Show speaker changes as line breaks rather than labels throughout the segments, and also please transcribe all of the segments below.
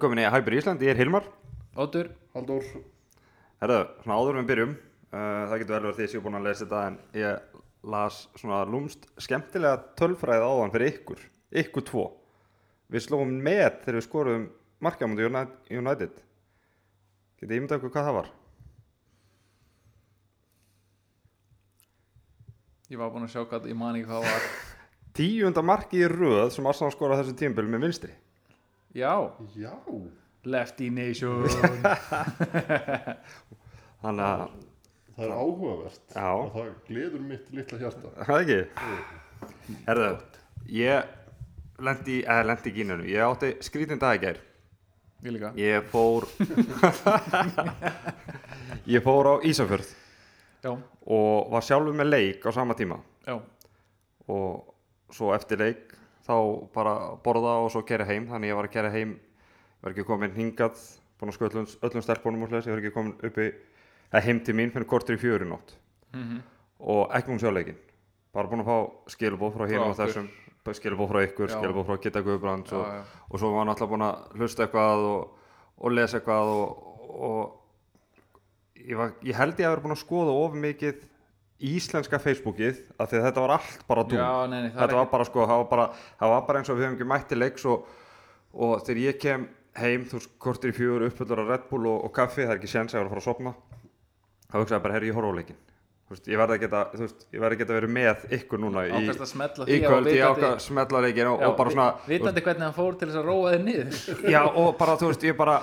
komin í Hæpir Ísland, ég er Hilmar
Óttur
Haldur,
Herðu, svona áður en við byrjum uh, Það getur vel verið því að ég er búin að lesa þetta en ég las svona lúmst skemmtilega tölfræði áðan fyrir ykkur ykkur tvo Við slóum með þegar við skoruðum markjámundi United Getið ímyndað ykkur hvað það var?
Ég var búinn að sjá hvað, ég man ekki hvað það var
Tíunda marki í röð sem Arsenal skoraði á þessum tímbil með vinstri
Já,
já
Lefty Nation
Þannig að,
Það er áhugavert
Já.
og það gleður mitt litla hjarta
það er ekki Herðu, ég lendi, eða lendi ekki innanum Ég átti skrítin dag í gær
Ég líka
Ég fór Ég fór á Ísafjörð
Já,
og var sjálfur með leik á sama tíma
já,
og svo eftir leik þá bara borða og svo kera heim þannig ég var að kera heim ég var ekki komin hingað búin að skoða öllum, öllum stelpunum og hlæs ég var ekki komin uppi eða heim til mín fyrir kortur í fjöru nótt
Mhm.
og ekki múin sjáleikin bara búin að fá skilubóð frá hérna
Frá
og þessum skilubóð frá ykkur,
Já.
skilubóð frá Gitta Guðbrands
Já,
og,
já.
og svo var náttúrulega búin að hlusta eitthvað og, og lesa eitthvað og, og ég, var, ég held ég að vera búin að skoða of mikið íslenska Facebookið af því að þetta var allt bara dún
Já, nei, nei, það er
þetta var
ekki-
bara sko, það var bara, það var bara eins og við höfum ekki mætti leiks og, og þegar ég kem heim, þú veist, kortir í fjögur uppöldur á Red Bull og, og kaffi, það er ekki séns að ég var að fara að sofna þá hugsaði bara, herri, ég horfa á leikinn þú veist, ég verði að geta, þú veist, ég verði að geta verið með ykkur núna í,
Ákvaðst að smetla
í
því á
kvöld, ég
vitandi-
ákvæmst að smetla leikinn og, og bara svona,
vi- Vitandi hvernig hann fór til þess að róa þér niður
já, og bara, þú veist, ég bara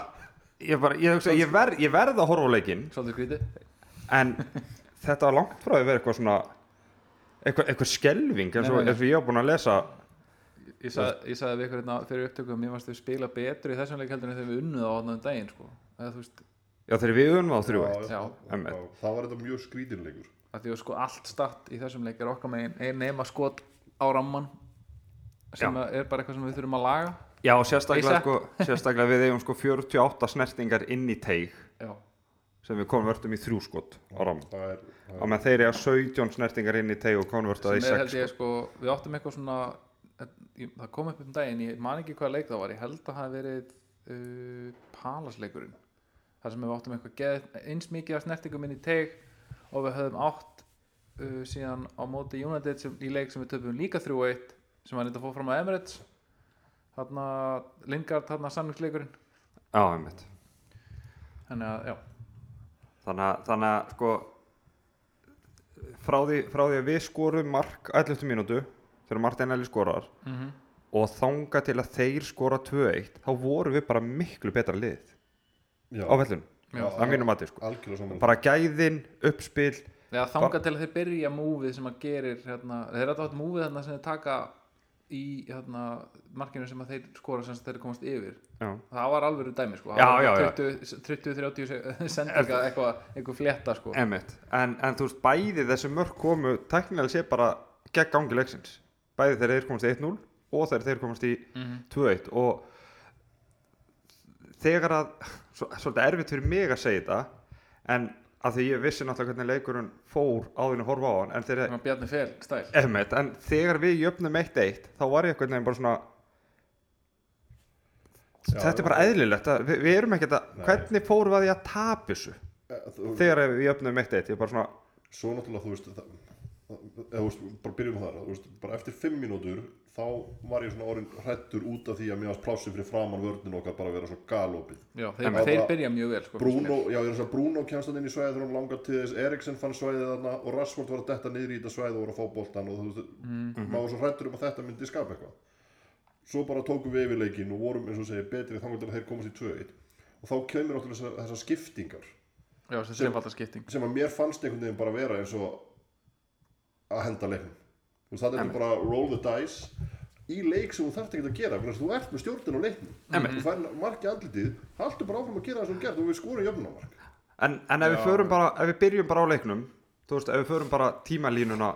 ég bara, ég hugsaði, ég, ver, ég verð að horfa á leikinn
Svolítið skrítið
en þetta var langt frá að vera eitthvað svona eitthvað, eitthvað skelving eins og,
Nei, nei.
eins og ég var búin að lesa
Ég sagði, ég sagði við ykkur hérna fyrir upptökum Mér varst við spila betur í þessum leik heldur en þegar við unnuð á hann um daginn sko. Eða, þú veist,
Já, þegar við unum á þrjú eitt.
Já, já.
Einmitt.
Já, Það var þetta mjög skrítinleikur
að því að sko allt statt í þessum leik er okkar megin ein nema skot á ramman sem
Já.
að er bara eitthvað sem við þurfum að laga
Já, sérstaklega,
Ísak.
sko, sérstaklega við eigum sko 48 snertingar inn í teig
Já,
sem við konvertum í þrjú skot á ram.
Það er, það
Á meðan þeir eiga 17 snertingar inn í teig og konvertaði í
sem
sex
er held
skot.
ég sko við áttum eitthvað svona ég- það kom upp um daginn, ég man ekki hvaða leik það var ég held að það hafi verið uh, palasleikurinn þar sem við áttum eitthvað geð, eins mikið af snertingum inn í teg og við höfum átt uh, síðan á móti United sem, í leik sem við töpum líka 3-1 sem var nýtt að fóð fram á Emirates þarna Lingard, þarna sanningsleikurinn
Já, einmitt.
þannig að já,
Þannig að, þannig að sko, frá því, frá því að við skorum mark 11 mínútu þegar Martin Eli skorar
Mhm.
og þanga til að þeir skora 2-1 þá vorum við bara miklu betra lið
já,
á vellunum.
Já.
Það mínum að þið sko.
algjörlega saman
Bara gæðin, uppspil,
Eða þanga til að þeir byrja múfið sem að gerir hérna, þeir eru alltaf múfið hérna sem þeir taka í hérna, markinu sem að þeir skora sem sagt þeir komast yfir
já.
það var alveg dæmi sko
Já,
Það var
já, já.
20, 30-30 se- sendinga eitthvað, eitthvað flétta sko
Einmitt. En, en þú veist, bæði þessi mörg komu tæknilega sé bara gegn gangi leiksins. Bæði þegar þeir komast í 1-0 og þegar þeir komast í
Mhm.
2-1 og þegar að, svo, svolítið erfitt fyrir mig að segja þetta en að því ég vissi náttúrulega hvernig leikurinn fór áðinu horfa á hann en þegar,
sem að Bjarni Fel, stæl
einmitt, en þegar við jöfnum 1-1 þá var ég eitthvað neginn bara svona
Já,
þetta er bara eðlilegt, að, við, við erum ekkert að
Nei.
hvernig fórum við að því að tapa þessu
Þú-
þegar við jöfnum 1-1 ég er bara svona,
Svo náttúrulega, þú veist, það, það, eða, þú veist bara byrjum á það þú veist, bara eftir fimm mínútur þá var ég svona orðin hrættur út af því að mér varst plássi fyrir framann vörnin okkar bara að vera svo galopið
já, þeir,
En-
þeir
bara-
byrja mjög vel sko
Bruno, já ég er þess að Bruno kemst hann inn í svæðið þegar hún langar til þess, Eriksen fann svæðið þarna og Rashford var að detta niður í þetta svæðið og var að fá boltan og þú veist, maður var svo hrættur um að þetta myndi skapa eitthvað svo bara tókum við yfir leikin og vorum eins og segja betri þangar til að þeir komast í 2-1 og þá kemur náttúrulega þessar, þessar skiptingar
já, sem þreifalda skipting
sem að mér fannst einhvern veginn bara vera eins og að henda leiknum þú veist, það er bara roll the dice í leik sem þú þarft ekki að gera vegna þess að þú ert með stjórnin á leiknum þú fær mark í andlitið, haldur bara áfram að gera það sem þú gerð og við skorum jöfnumark
En, en ef, við förum bara, ef við byrjum bara á leiknum þú veist, ef við förum bara tímalínuna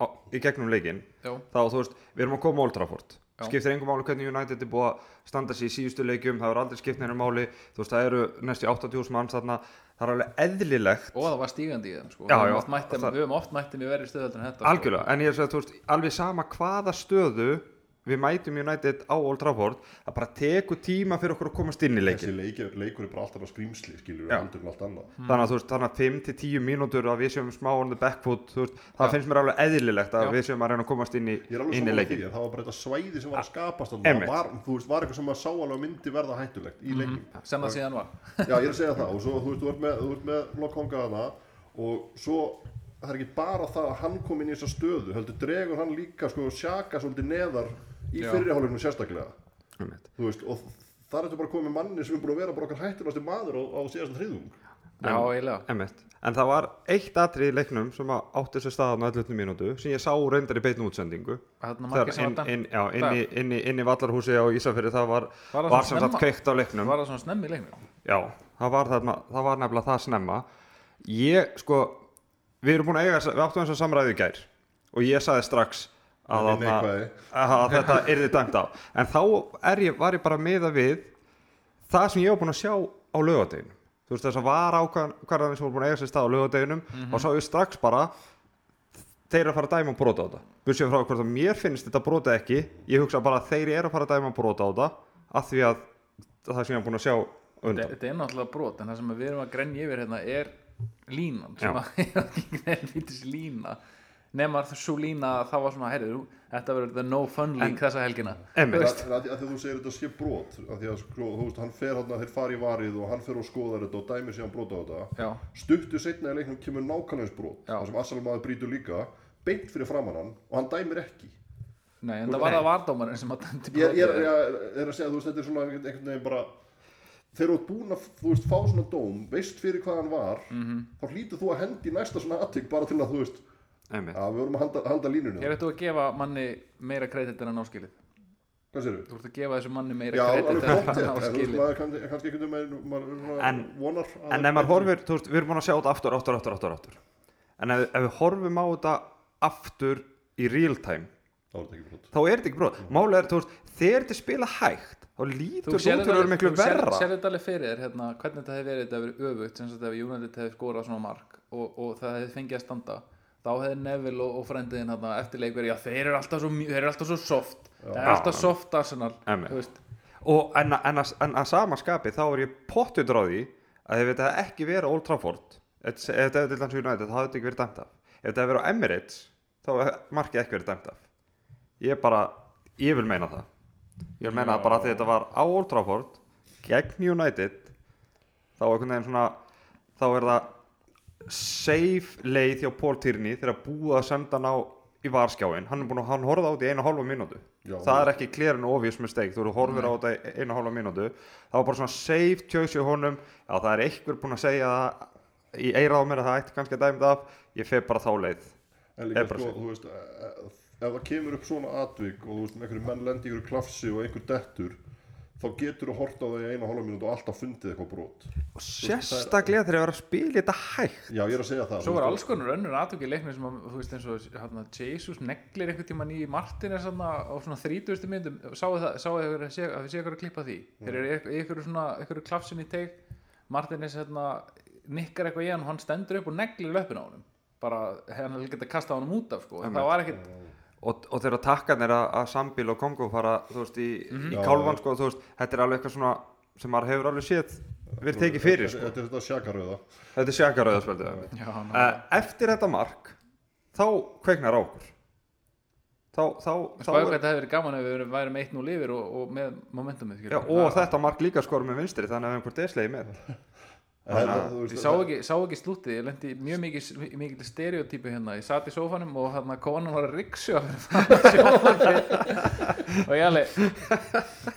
á, í gegnum leikin
já,
þá, þú veist, við erum að koma á Old Trafford
Já.
skiptir engum máli hvernig United er búið að standa sér í síðustu leikjum, það eru aldrei skipt neina máli þú veist, það eru næstu 80.000 manns þarna það er alveg eðlilegt
og það var stígandi í þeim sko
Já,
Við
já,
höfum oft mætt þeim-
það-
við höfum oft mættum í verri stöðaldur en þetta sko.
algjörlega, en ég er að segja, þú veist, alveg sama hvaða stöðu við mætum United á Old Trafford það bara tekur tíma fyrir okkur að komast inn í leikin
þessi leikir, leikur er bara alltaf að skrýmsli skilur við
Já.
heldur en allt annað
Hmm.
þannig að þú veist, þannig að 5-10 mínútur að við séum smá on the back foot þú veist, það
Já.
finnst mér alveg eðlilegt að
Já.
við séum að reyna að komast inn í,
ég er
inn
alveg
í
saman því
leikin
að það var bara þetta svæði sem var að skapast þarna.
Einmitt.
það var, þú veist, var eitthvað sem að sá alveg að myndi verða hættulegt í leikin
sem það síðan var
já, ég er að segja það og svo þú veist, þú ert með, þú ert með Lokonga þarna og svo það er ekki bara það að hann kom inn í þessa stöðu heldur dregur hann líka sko sjaka svolítið neðar í
Já.
fyrirháleiknum sérstaklega
Einmitt.
þú veist, og þar ertu bara komið manni sem er búin að vera bara okkar hættulasti maður á, á síðastan þriðung
já, eiginlega
Einmitt. en það var eitt atrið í leiknum sem að átti sér staðan á 11 mínútu sem ég sá reyndar í beinu útsendingu
Þarna
Þegar
margir sem
inn,
var
inn, já, inn, í, inn, í, inn í vallarhúsi á Ísafyrði það var, var,
Var
sem
það svona
sagt
snemma?
kveikt á leiknum
það svona snemmi í leiknum
já, það var, þarna, það var nefnilega það snemma ég, sko við erum búin að eiga, þessa- við áttum eins og samræði í gær og ég sagði strax að,
Nei,
þarna-
neikvæði.
að, að þetta yrði dæmt á en þá er ég, var ég bara meða við það sem ég var búin að sjá á lögadeginum þú veist þess að var ákvarðan sem var búin að eiga sér stað á lögadeginum
Mhm.
og sá ég strax bara þeir eru að fara að dæma og brota á þetta bursið frá hvort að mér finnst þetta brota ekki ég hugsa bara að þeir eru að fara að dæma og brota á þetta af því að það sem ég var búin að sjá
Þetta-
undan
þetta er náttúrulega brot en það sem við erum að grenja yfir hérna er línan
Já.
sem að er ekki greinvítis lína nema það svo lína að það var svona herri, þetta verður the no fun link þessa helgina
Einmitt.
að, að, að, að þú segir þetta sé brot að því að sko, þú veist, hann fer hann þeir fari í varið og hann fer og skoðar þetta og dæmir síðan brot á þetta
já,
stuttu setna í leiknum kemur nákvæmleins
Já.
brot þar sem Assal maður brýtur líka beint fyrir framann hann og hann dæmir ekki
nei, en það var
Nei.
það vardómarinn sem að dæmdi
ég, ég, er-
brotið.
ég er að segja þú veist þetta er svona einhvern einhvern veginn bara þegar þú ert búin að þú veist, fá svona dóm veist fyrir hvað hann var
Mhm.
-hmm. þá hlýtur þú að hendi í næsta svona attík bara til að þú veist
Einmitt.
að við vorum að handa, handa línunni
Hér ættu að gefa manni meira kredit en hann áskilið
hvað sér við?
Þú ert að gefa þessu manni meira
Já, alveg
kredit en
flott
hann
þetta, en þú veist,
áskilið
maður kann- kannski einhvern veginn, maður svona
En-
vonar að-
en ef maður horfir, þú veist, við erum búin að sjá þetta aftur, aftur, aftur, aftur, aftur. en ef, ef við horfum á þetta aftur í real time
Þá er þetta ekki brot.
þá er þetta ekki brot málega er, þú veist, þegar þetta er spila hægt þá lítur
Þú
þetta
sér
út fyrir að vera miklu
sér-
verra
sérð þetta alveg fyrir þér hérna, hvernig þetta hefði verið þetta hefði verið öfugt sem sagt ef United hefði skorað svona mark og, og það hefði fengið að standa þá hefði Neville og, og frendiðin hérna, eftir leikveri já þeir eru alltaf svo, mjú- þeir eru alltaf svo soft það er alltaf soft Arsenal
Einmitt.
þú veist.
og en, að- en, að- en að sama skapi þá er ég pottur á því að ef þetta hefði ekki verið Old Trafford ef ef þetta hefði til dæmis United þá hefði þetta ekki verið dæmt af ef þetta hefði verið á Emirates þá hefði markið ekki verið dæmt af ég bara, ég vil meina það ég vil meina það bara að því þetta var á Old Trafford gegn United þá einhvern veginn svona þá er það safe leið hjá Paul Tierney þegar búið að senda hann á í varskjáin hann er búin að hann horfði á þetta í eina hálfa mínútu
Já.
það er ekki clear and obvious mistake þú eru horfir á þetta í eina hálfa mínútu það var bara svona safe choice hjá honum já það er einhver búin að segja það í eirað á mér að það ætti kannski að dæmi það af. ég feg bara þá leið
En líka
er bara
sko,
sýn.
þú veist, eh, ef það kemur upp svona atvik og þú veist, einhverju menn lendi í einhverju klafsi og einhver dettur, þá getur þú hort á það í eina hálfa mínútu og alltaf fundið eitthvað brot.
og sérstaklega þegar ég var að spila þetta hægt
Já, ég er að segja það.
svo var alls konar önnur aðtöki leiknir sem að, þú veist eins og hérna, Jesus neglir einhvern tímann í Martin svona, á svona 30. myndum sáu það, sáu það að sé- að við séu eitthvað að klippa því þeir eru í einhverju svona, einhverju klapsin í teg Martin er hérna nikkar eitthvað í hann og hann stendur upp og neglir löpun á honum bara, hann hefði getað kastað honum út af sko,
Einmitt.
það var ekkert
og, og þegar takkarnir að, að Sambil og Kongo fara þú veist í,
Já,
í kálvan
já.
sko, þú veist, þetta er alveg eitthvað svona sem maður hefur alveg séð verið tekið fyrir sko.
Þetta er þetta sjakaröða.
þetta er sjakaröðaspöldið ja.
já, ná,
Eh, eftir þetta mark þá kveiknar á okkur þá, þá, Eh, þá
spáðu hvað þetta hefði verið gaman ef við værum 1-0 yfir og, og með momentumið
já, og þetta mark líka skor með vinstri þannig að við einhver deslegi með
En þetta,
að-
þú
Ég
veist,
sá ekki, sá ekki slútið, ég lendi í mjög mikið, mikið stereotypu hérna, ég satt í sófanum og hérna konan var að riksu að vera fann sjófanum og ég alveg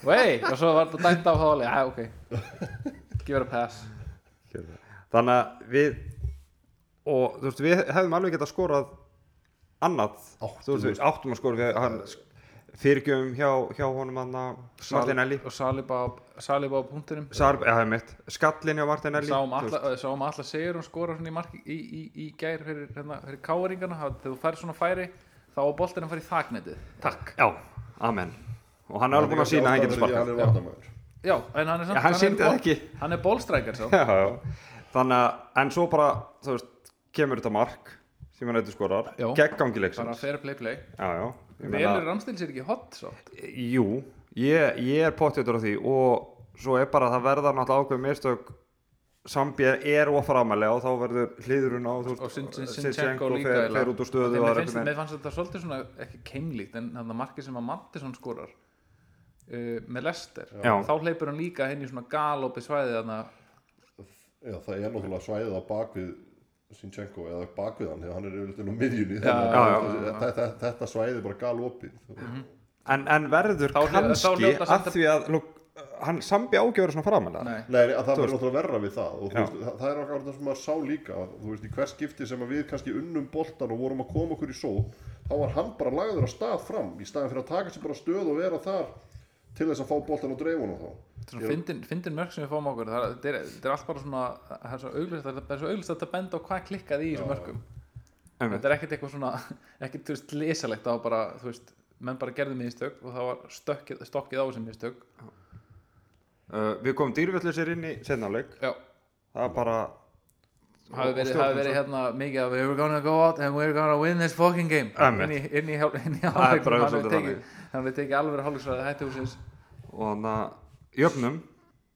vei, og svo var þetta dæmt á þá alveg, já ok give her a pass
þannig að við og þú veist við hefum alveg getað skorað annað
Áttum,
þú veist við áttum að skora við hann fyrirgjöfum hjá, hjá honum hann Martin Eli
og Saliba, Saliba á punktinum
Sarb, ja, mitt, skallin hjá Martin Eli
sáum
þú veist.
um alla, sáum alla segjur og skora svona í, marki, í, í, í gær fyrir, hérna, fyrir káringana, þegar þú fær svona færi þá á boltinu að fara í þaknetið takk,
já, amen og hann er alveg búin að sína að hann getur sparkað
Hann er varnamæður.
já, en hann er samt
Já, hann
er
sýndi það
bol-
ekki.
hann er bólstrækar sá
já, já. þannig að en svo bara þú veist, kemur þetta mark sem hann eitthvað skorar
Já.
geggangi
bara
leiksins já,
fair play play
já, ég
Velur Ramstil sér ekki hot sátt
Jú, ég, ég er pottjötur á því og svo er bara að það verða náttúrulega ákveð mistök sambið er oframælega og þá verður hliðurinn á þú veist,
og Sin- Sin-
Sinchenko
Sinchenko líka
fer,
eiginlega.
fer út úr stöðu
Þegar
og
mér
er
finnst,
einhvern
mér fannst þetta svolítið svona ekki keimlíkt en þannig að markið sem að Mattisson skorar uh, með Lester
Já.
þá hleypur hann líka henni svona galopi svæði þannig að
Já, það er náttúrulega svæðið á bakvið Sinchenko eða bakvið hann þegar hann er yfirleitt inn á miðjunni þannig
já, já,
að
já, já.
þetta, þetta svæðið er bara gal opið
veginn. en, en verður
Þá hljóta- þá
kannski
hljóta
að
samt-
því að lúk, hann sambið ágjöfur svona framælega
nei,
Nei, nei, að það
Þú
verður
veist.
náttúrulega verra við það og þú
Já.
veist, það, það er okkar það sem maður sá líka þú veist, í hvers skipti sem að við kannski unnum boltan og vorum að koma okkur í só þá var hann bara lagður að stað fram í staðin fyrir að taka sér bara stöð og vera þar til þess að fá boltan og dreifun og þá
svona fyndin, fyndin mörg sem við fáum á okkur það er, þetta er, þetta er allt bara svona það er svo auglust, það er svo auglust að þetta benda á hvað klikkaði í þessum mörgum
Einmitt.
þetta er ekkert eitthvað svona ekkert, þú veist, lesalegt það var bara, þú veist, menn bara gerðu mistök og það var stökkið, stokkið á þessum mistök
uh, Við komum dýrvöllusir inn í setnáleik
já,
það er bara
hafi
og- og
verið,
stjórnum
hafi verið
svo.
hérna mikið að we're gonna go out and we're gonna win this fucking game
Einmitt.
inn í, inn í, hál- inn í
Það er
hálfleik
bara
hann hefur
svolítið
tekið- hann hefur tekið alveg hálfleiksræði hætti húsins
og þannig að jöfnum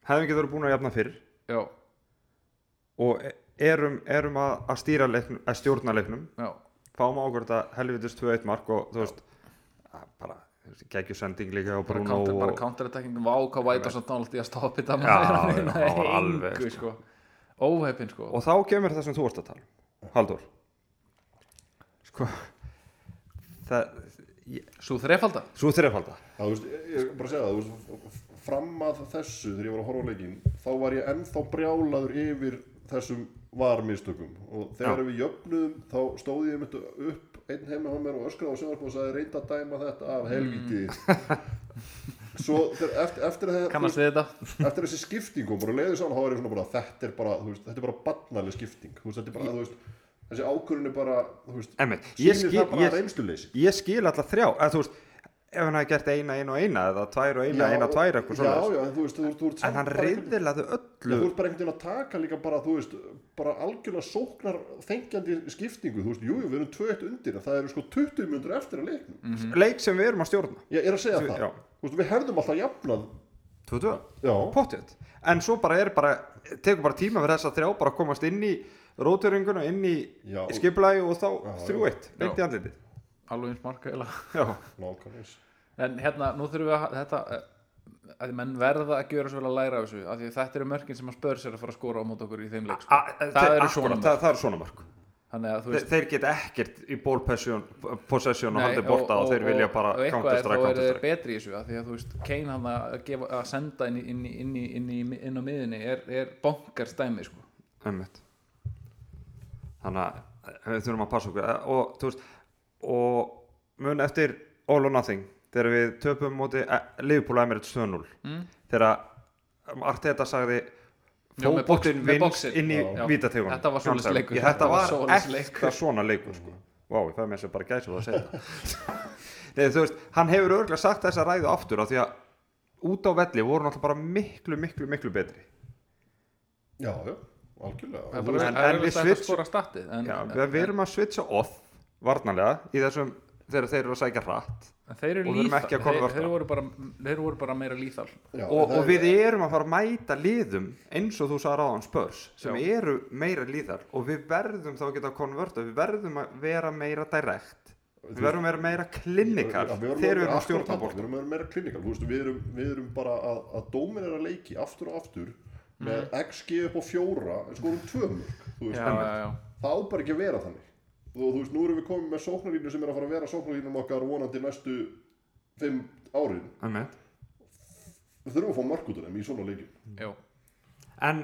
hefum getur búin að jöfna fyrr
já,
og e- erum, erum að, að stýra leiknum, að stjórna leiknum
já,
fáum á okkur þetta helvitist 2-1 mark og þú veist að bara geggjur sending líka og
bara
Bruno
counter, bara
og
counterattacking váka væta svo nált í að stoppa þetta
já,
maður.
það var
Nei,
alveg,
engu, sko. óheppin sko
og þá kemur það sem þú vorst að tala um, Haldur sko það, ég,
svo þrefalda
svo þreifalda
Það, þú veist, ég, ég bara segja það, þú veist, fram að þessu þegar ég var að horfa á leikinn, þá var ég ennþá brjálaður yfir þessum varmistökum og þegar
Já.
við jöfnuðum þá stóði ég mynd upp einn heima á mér og öskraði á sjónarspóð og sagði reynda að dæma þetta af helviti
Mm.
svo þegar, eftir, eftir, að- þú
kannast
veist,
við þetta
eftir þessi skipting og bara leiðið saman þá var ég svona bara þetta er bara, þú veist, þetta er bara barnaleg skipting þú veist, þetta er bara, þú veist, þessi ákvörun er bara, þú veist,
Einmitt, ég
sýnir
skil-
það bara
ég-
reynsluleysi
ég skil alltaf þrjá að þú veist ef hann hefði gert eina, eina og eina eða tvær og eina, eina, tvær eitthvað
já,
svoleiðis
já, en þú veist, þú, þú, þú
en hann reyðilaði
Já,
öllu
þú ert bara einhvern veginn að taka líka bara, þú veist, bara algjörlega sóknar þengjandi skiptingu, þú veist, jú, jú, við erum 2-1 undir en það eru sko 20 minnur eftir að leiknum.
Mhm.
leik sem við erum að stjórna
Ég er að segja
Því- Mm.
það.
já.
Þú veist, við hefðum alltaf jafnað,
22,
já,
pottið en svo bara er bara, tekur bara tíma fyrir þess að þrjá bara að komast inn í róturinguna inn í
Já, og-
skipulagi og þá
já.
3-1, beint í andliti
alveg eins marka eiginlega.
já,
nákvæmlega. eins.
En hérna, nú þurfum við að þetta, eh, að menn verða að gjöra svo vel að læra af þessu, af því að þetta eru mörkin sem að spör sér að fara að skora á mót okkur í þeim leik sko.
A-
Það
þeir-
eru svona
akkurat,
mörk
það, það eru svona mörg
Þannig að þú
Þe,
veist
þeir geta ekkert í ball possession, possession og
nei,
haldið borta og, þeir vilja bara
og eitthvað er,
counterstrike,
Þá eru þeir
counterstrike
betri í þessu, af því að þú veist Kane hann að, gefa, að senda inn, í- inn, í- inn, í- inn, inn, inn á miðinni er, er bonkar stæmi sko.
einmitt þannig að við þurfum að passa okkur Eh, og þú veist og mun eftir all or nothing þegar við töpum móti eh, Liverpool Emirates 2-0 mm. þegar um, Arteta sagði
Já, með box-
fótboltinn
með
vins
boxið.
inn í
Já.
vítategun
Þetta var svoleiðis leikur.
þetta
Þetta var
var
svoleiðis
ekta
leikur. Mm.
svona leikur sko. Vá, ég fæði með þess að bara gæsa það að segja það Nei, þú veist, hann hefur örgulega sagt þess að ræðu aftur á því að út á velli voru náttúrulega bara miklu, miklu, miklu betri
Já, já, algjörlega.
Það er
Og
bara
þú
en-
það
en við
er auðvitað hægt að
switch-
skora statið en,
Já,
en,
við, við erum að switcha off varnarlega í þessum þegar þeir eru að sækja hratt
en þeir eru
og við erum
líþal
ekki að konverta.
þeir, þeir, voru bara, þeir voru bara meira líþal
veist, já,
og,
það
og
er-
við erum að fara að mæta liðum eins og þú sagði ráðan spörs sem
Já.
eru meira liðar og við verðum þá að geta að konverta við verðum að vera meira direkt við verðum að vera meira klinikal
Já,
þegar við erum að
akkurat
stjórna
þarna,
bort
Við erum að vera meira klinikal, þú veist, við erum, við erum bara að, að dóminera leiki aftur og aftur
Mm.
með XG upp á fjóra, en skorum tvö mörg, þú veist,
Já, já, já
það á bara ekki að vera þannig og þú veist, nú erum við komin með sóknarlínu sem er að fara að vera sóknarlínum okkar vonandi næstu fimm árin við þurfum að fá mörg út af þeim í svona leikin
Jú.
en,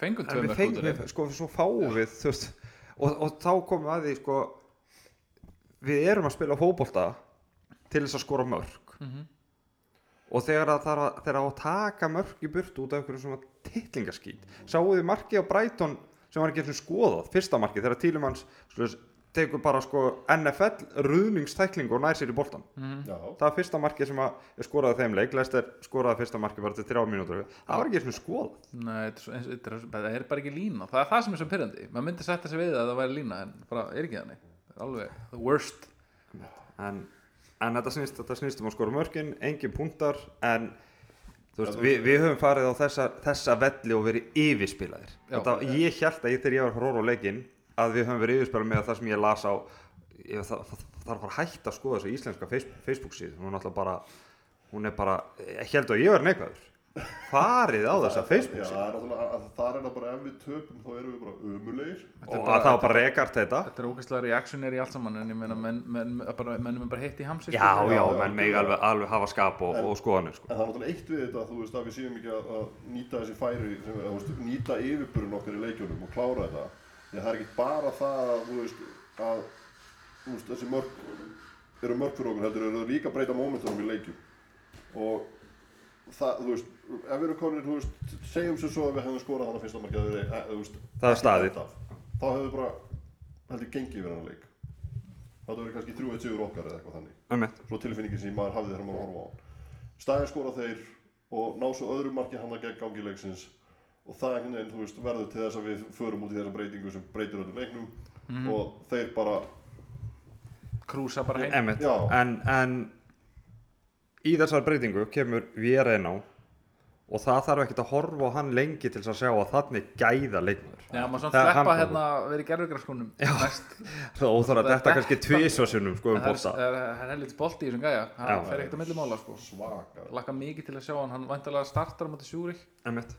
Fengum
en
tvö
við
mörg út
fengum
úr þeim
við, sko, svo fáum við þú veist, og, og þá komum við að því sko, við erum að spila fótbolta til þess að skora mörg
Mhm.
og þegar að það er að taka mörg í burtu út af einhverjum svona titlingaskýt sáuðu þið markið á Brighton sem var ekki eins og skoðað, fyrsta markið þegar Tílumanns tekur bara sko NFL ruðningstæklingu og nær sér í boltan
Mm.
já,
það er fyrsta markið sem að er skoraði þeim leik Lester skoraði fyrsta markið bara til þrjá mínútur það var ekki eins og skoð
Nei, þetta er svo- eins- þetta er- það er bara ekki lína Það er það sem er svo pyrrandi Maður myndi setja sig við að það væri lína En bara er ekki þannig Það er Alveg, the worst
en, en þetta, snýst, þetta snýst um að skora mörkin engin puntar en þú veist,
þú-
við, við höfum farið á þessa, þessa velli og verið yfirspilaðir
Já.
þetta, ég held að ég þegar ég var að horfa á leikin að við höfum verið yfirspilað með það sem ég las á ég, það, það, það er bara hægt að skoða þessu íslenska Facebook síð hún er náttúrulega bara hún er bara, ég held að ég var neikvæður farið á þessa
já,
Facebook síð
það er náttúrulega að- að þar er það bara ef við töpum þá erum við bara umulegir
og að það var bara rekart þetta
Þetta er ókvæslega reaksjónir í allt saman En ég meina, menn, menn, bara, mennum er bara heitt í hamsi
já,
sko.
já,
já,
menn
já.
megi alveg, alveg hafa skap og, og skoðanir sko.
En það er náttúrulega eitt við þetta að þú veist að við séum ekki að, að nýta þessi færi, sem, við- að, þú veist, nýta yfirburun okkar í leikjunum og klára þetta. Því að það er ekki bara það að, þú veist, að þú veist, þessi mörg eru mörg fyrir okkur, heldur eru þau líka að breyta mómentunum í leikjum. Og það, þú veist, ef við erum konir, þú veist, segjum sem svo að við hefðum skorað hana fyrsta markið, að við, að, þú veist,
Það er staðið.
alltaf. Þá hefur við bara, heldur, gengið yfir hana leik. Það hefur verið kannski 3-1 sigur okkar eða eitthvað þannig
Einmitt.
svo tilfinningin sem maður hafði þegar maður horfa á hann stæðin skora þeir og ná svo öðru marki hann að gegn gangi leiksins og það einhvern veginn, þú veist, verður til þess að við förum út í þessa breytingu sem breytir öllum leiknum og þeir bara,
Krúsa bara heim
Einmitt,
Já.
en, en í þessar breytingu kemur Vierená og það þarf ekkert að horfa á hann lengi til þess að sjá að þannig gæða leikmaður
Já, maður svona
Það er
sleppa
handbolti.
hérna Verið gerðugraskónum Næst
og þú þarf að
Það er
þetta kannski
þetta-
tvísvarsinnum sko um
Það er-
bóta
það er það er helvits bolti í þessum gæja
Já.
Það fer ekkert að milli mála sko
svaka
Laka mikið til að sjá hann Hann vantarlega startar á móti Sjúrik
Einmitt.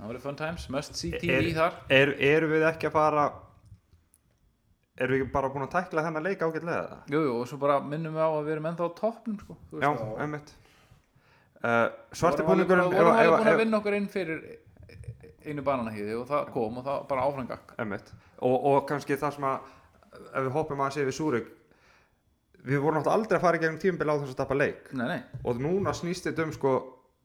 Það verið fun times Must see
er,
TV þar
er, erum við ekki að fara erum við ekki bara búin að tækla þennan leik ágætlega eða?
Jú, jú, og svo bara minnum við á að við erum ennþá á toppnum sko, þú veist.
já, einmitt uh, svarti
Vorum alveg-
búningurinn
vorum
ef- ef-
alveg búin
ef-
að vinna okkur inn fyrir einu bananahýði og það kom og það bara áfrangak
Einmitt. og, og kannski það sem að ef við hoppum að sé við Súrik við vorum náttúrulega aldrei að fara í gegnum tímbil á þess að tapa leik
nei, nei,
og núna snýst þetta um sko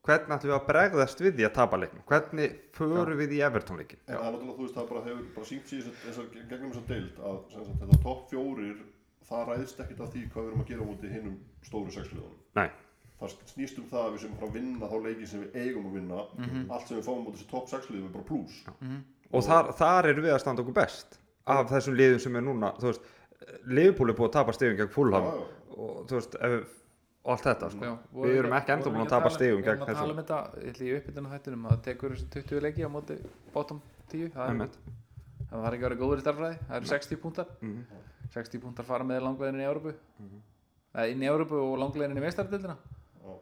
hvernig ætlum við að bregðast við því að tapa leiknum hvernig förum við í Everton leikin
en það er náttúrulega, þú veist, það bara hefur bara sínt sér þess að gegnum þess að deild að sem sagt, þetta topp fjórir, það ræðist ekkert af því hvað við erum að gera á móti hinnum stóru sexliðunum
nei,
það snýst um það að við sem frá að vinna þá leiki sem við eigum að vinna allt sem við fáum á móti þessi topp sexliðum er bara plus
og þar, þar er við að standa okkur best af þessum liðum sem er núna þú veist, Liverpool er búið að tapa stegum gegn Fulham
Já, já.
og þú veist ef, og allt þetta sko
já, vorum
við erum ekki ennþá
vorum
búin að
ekki
tapa
tala-
stegum
vorum
gegn
að tala
þessum
um þetta, ég ætli ég uppbytun á þættinum að það tekur þessi 20 leiki á móti bottom 10 það er,
Einmitt.
það þarf ekki að vera góður í starfræði það eru 60 púntar
Mhm.
60 púntar fara með langleginin í Európu eða inn í Európu og langleginin í meistardildina
Já.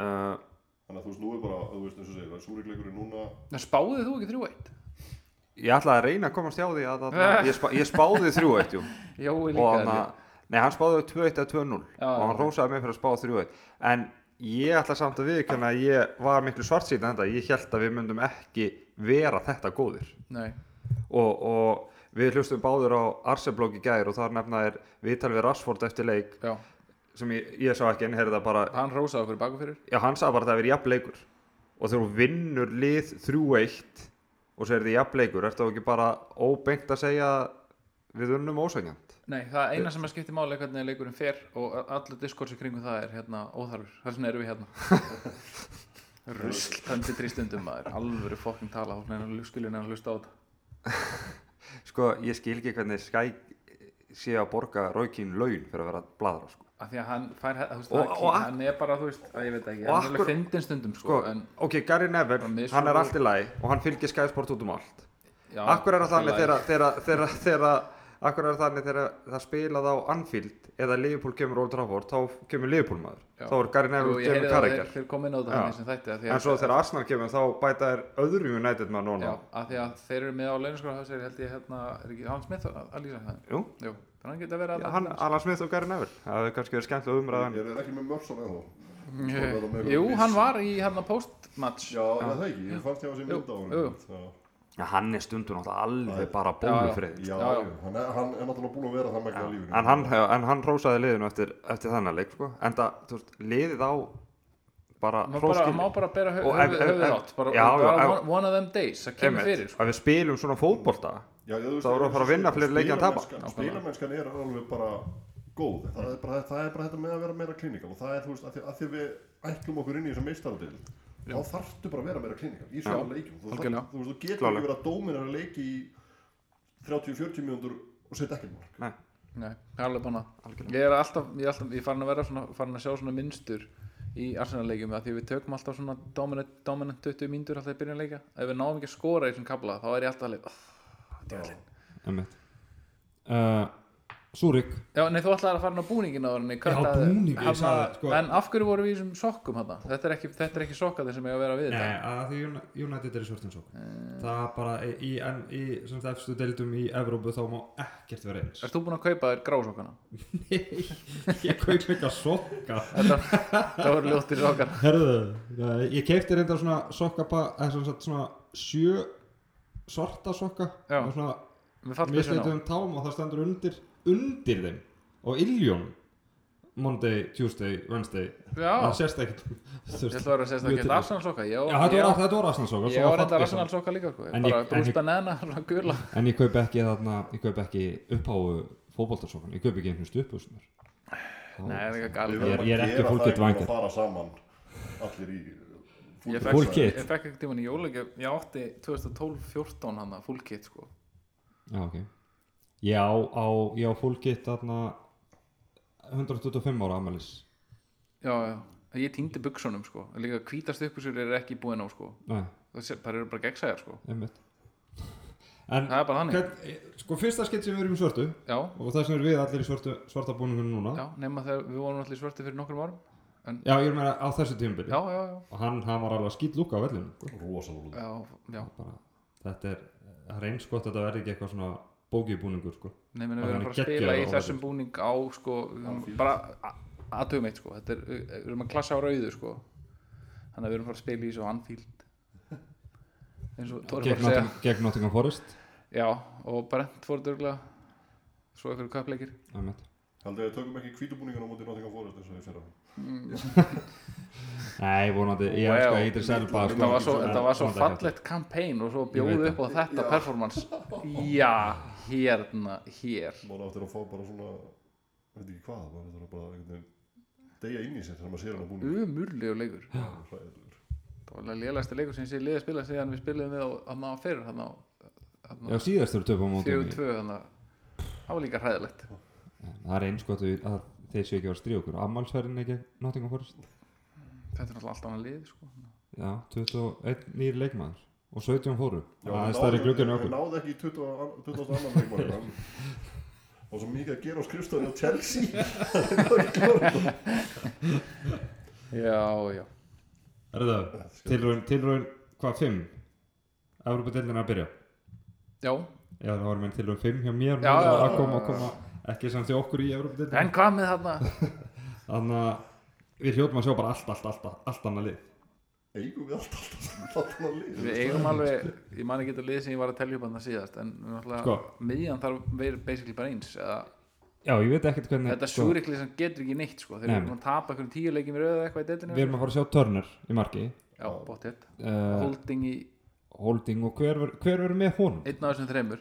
uh,
Þannig að þú veist, nú er bara, þú veist, eins og segir, það er súrikleikurinn núna
spáðið þú ekki 3-1?
ég ætlaði að reyna að komast hjá því að, að, ég, spá, ég spáði 3-1 jú.
Jói
og
líka
hann
held ég.
að, nei hann spáði 2-1 eða 2-0
Já,
og hann
já.
rósaði mig fyrir að spá 3-1 en ég ætla samt að viðkjöna að ég var miklu svartsýn en þetta, ég held að við myndum ekki vera þetta góðir
Nei.
og, og við hlustum báður á Arseblóki gær og þar nefna er viðtal við Rashford eftir leik
Já.
sem ég, ég sá ekki en heyrði það bara
hann rósaði okkur baku fyrir
já hann sagði bara að það verið jafnleikur og þegar hún vinnur lið 3-1 og svo er þið jafnleikur er það ekki bara óbeint að segja að við unnum ósækjand
Nei, það eina sem að skipti máli er hvernig leikurinn fer og a- allur diskursi kringum það er hérna óþarfur, þess vegna erum við hérna Rusl, þannig þrý stundum maður alvöru fokkin tala og hérna skiljun en að hlusta á þetta
Sko, ég skil ekki hvernig Sky eh, sé að borga raukín laun fyrir að vera bladra, sko.
af því að hann fær, he- þú veist,
Og-
það er
og
kýr-
ak-
hann er bara, þú veist, að ég veit
Og
ekki hann er
akkur-
alveg fyndin stundum, sko,
sko
en
ok, Gary Neville,
Bara miserable.
hann er allt í lagi og hann fylgir Sky Sport út um allt.
já,
akkur er það þannig
allt í lagi.
þegar- þegar- þegar- þegar- akkur er það þannig þegar það spilað á Anfield eða Liverpool kemur Old Trafford, þá kemur Liverpool maður.
Já.
Þá er Gary
Jú,
Neville,
ég
kemur
heyrði að
Carragher.
þeir, þeir komið inn á þetta
Já.
þannig sem þætti að því
En
að,
svo þegar Arsenal kemur þá bæta er öðrum United maður
já,
núna.
að því að þeir eru með á launaskráðu sér held ég hérna, er ekki Alan Smith að að lýsa það?
Jú,
Jú, þannig að hann geta verið
hann, Alan Smith og Gary Neville. Það hefur kannski verið skemmtilega umræðan.
Er það ekki með mörsan eða
hann Jú, hann var í hérna postmatch
Já, er það ekki, ég fannst hjá þessi
Jú,
mynd á
jú.
honum Já,
Já, hann er stundum náttúrulega alveg bara
já.
bólufrið.
já,
Já, já.
já. Hann, er, hann er náttúrulega búin að vera það með lífinu
en hann, en hann rósaði liðinu eftir, eftir þennan leik sko. en það, þú veist, liðið á bara
maður bara,
hróskil
má bara bera höf-
Og ef-
höfuð
ef-
höfuð
ef-
átt bara,
já,
bara
já,
one, one of them days það kemur fyrir sko.
að við spilum svona fótbolta
Já, já, þú veist,
Þá voru að fara að vinna fleiri leiki en tapa.
spilamennskan- Spilamennskan er alveg bara góð en það er bara, það er bara þetta með að vera meira klinikal og það er, þú veist, að því að, því að við ætlum okkur inn í þessum meistaradil þá þarftu bara að vera meira klinikal í svona leikjum þú,
algjörlega.
þarft- þú, veist, þú getur
Klálega.
ekki verið að dómina að leiki í 30-40 mínútur og setja ekkert mark
Nei,
Nei, það er alveg bána Ég er alltaf, ég er alltaf, ég er farin að vera svona, farin að sjá svona mynstur í Arsenal-leikjum af því við tökum alltaf svona dominant, dominant 20 mínútur alltaf í byrjun leika ef við náum ekki að skora í þessum kabla þá er ég alltaf alveg oh, djöfullinn.
Einmitt. Uh, Súrik
Já, nei, þú ætlaði að fara inn á búningin á henni
búning, ég sagði, sko.
En af hverju vorum við í þessum sokkum hann? Þetta er ekki, þetta er ekki sokkaði sem ég að vera við
Nei,
þetta Eh.
að því Uni- United er í svörtum sók Það er bara í, í, en, í sem það efstu deildum í Evrópu þá má ekkert vera eins
Erst þú búin að kaupa þér grásokkana?
Ég kaup líka sokka
Þetta, það voru ljóttir sokkar
Herðu, eh, ég keipti reyndar svona sokka bara, eða sem sagt svona sjö svarta sokka
Já.
með svona
Við fallum þessu ná
misleitum tám og það stendur undir undir þeim og iljón Monday, Tuesday, Wednesday það
Já,
sést ekkert þú
ég
veist.
ætla að vera að
mjög
segja þetta ekki
tilbúið.
Arsenal sokka, já,
Já, þetta var- þetta voru aðsna sokka
Ég var reynda Arsenal sokka líka sko.
En
bara
ég- en
brúst
ég-
banana, svona gula
En ég kaup ekki þarna, ég kaup ekki uppháu fótboltarsokkan, ég kaup ekki einhvern stupusnar.
Nei, það er eitthvað
Við
Ég
galið
er-
verðum
ég
að
ekki
gera það
fólkið
einhvern
vængjarn.
að fara saman allir í
Ég
Full
fekk,
kit.
ég fekk ekkert tíman í jólagjöf Ég átti 2012-14 hann að full kit sko.
Já, ok. Ég á, á, ég á fólkið þarna 125 ára amelis.
Já, já, ég týndi buksunum sko. Líka hvítast uppusur er ekki búin á sko.
Nei,
Það sé- þær eru bara gegnsæðar sko.
einmitt. En,
Það er bara þannig
hvern, sko, fyrsta skipt sem við erum í svörtu
Já,
og þess vegna erum við allir í svörtu, svarta búningunum núna.
já, nema þegar við vorum allir svörti fyrir nokkrum árum
Já, ég er meira á þessu tímubili.
Já, já, já,
Og hann, hann var alveg skýt lúka á vellinu. sko.
rosalúð
já, já.
Bara, þetta er, það er eins gott að þetta verði ekki eitthvað svona bókibúningur, sko.
Nei, meni,
Það
við
er
erum bara að
geggjaður
spila í
áhugaverð.
þessum búning á sko, bara aðtöfum eitt sko. Þetta er, við erum að klassa á rauðu sko. þannig að við erum bara að spila í þessu á Anfield eins og Tóri var
Gegn
að segja
Nottingham- gegn Nottingham Forest.
Já, og Brentford örgulega svo eitthvað kappleikir
Einmitt.
Haldið að við tökum ekki kvítubúningan á móti Nottingham Forest eins og við fyrra
Nei, vonandi, ég
Wow.
elska Ídris Elba
Þetta var svo, þetta var svo
vonandi ekkert.
fallegt kampæn og svo
Ég
bjóðu
veit
upp á þetta
Já.
performance Já, hérna, hér
maður áttir að fá bara svona ég veit ekki hvað, maður áttir að bara einhvern veginn deyja inn í sér þegar maður sér hann að búin
Umurlegur leikur
hræðilegur
Það var alveg lélægasti leikur sem ég sé liðið spila síðan við spilaðum við á, hann á fyrir hann á, hann
Já,
á
síðast eru töpum á móti
42 hann að það var líka hræðilegt
Það er eins gott við- að þeir séu ekki að vera stríð okkur Ammalsverðin ekki Nottingham Forest
Þetta er náttúrulega allt annað lið sko.
Já, 21 nýr leikmaður og 17 fóru
Já,
Það er
við
stærri
náðum-
gluggan
við
okkur
náðum ekki í 20 20. annan leikmann og svo mikið að gera á skrifstofinu á Chelsea
Já, já
Er það, tilraun, tilraun, hvað, 5? Evropadeildina að byrja
Já,
Já, það var með tilraun 5 um hjá mér
Já, já,
að
já,
koma,
já,
koma, ekki samt því okkur í Evropadeildina
en hvað með þarna
Þannig að við hljótum að sjá bara allt, allt, allt, allt, allt annað lið
eigum við allt alltaf alltaf að lið
Við eigum alveg, ég man ekki þetta lið sem ég var að telja upp hann síðast en náttúrulega
Sko.
miðjan þarf verið basically bara eins eða,
Já, ég veit ekkert hvernig
þetta
sko,
sjúrikli sem getur ekki neitt sko. þeir
Nei.
eru búin að tapa einhverjum tíu leikjum í röðu eitthvað í deltinu
Við erum að fara að sjá Turner í marki
Já, bótt hitt
uh,
Holding í
Holding og hver, ver- hver verður með honum?
einn af þessum þremur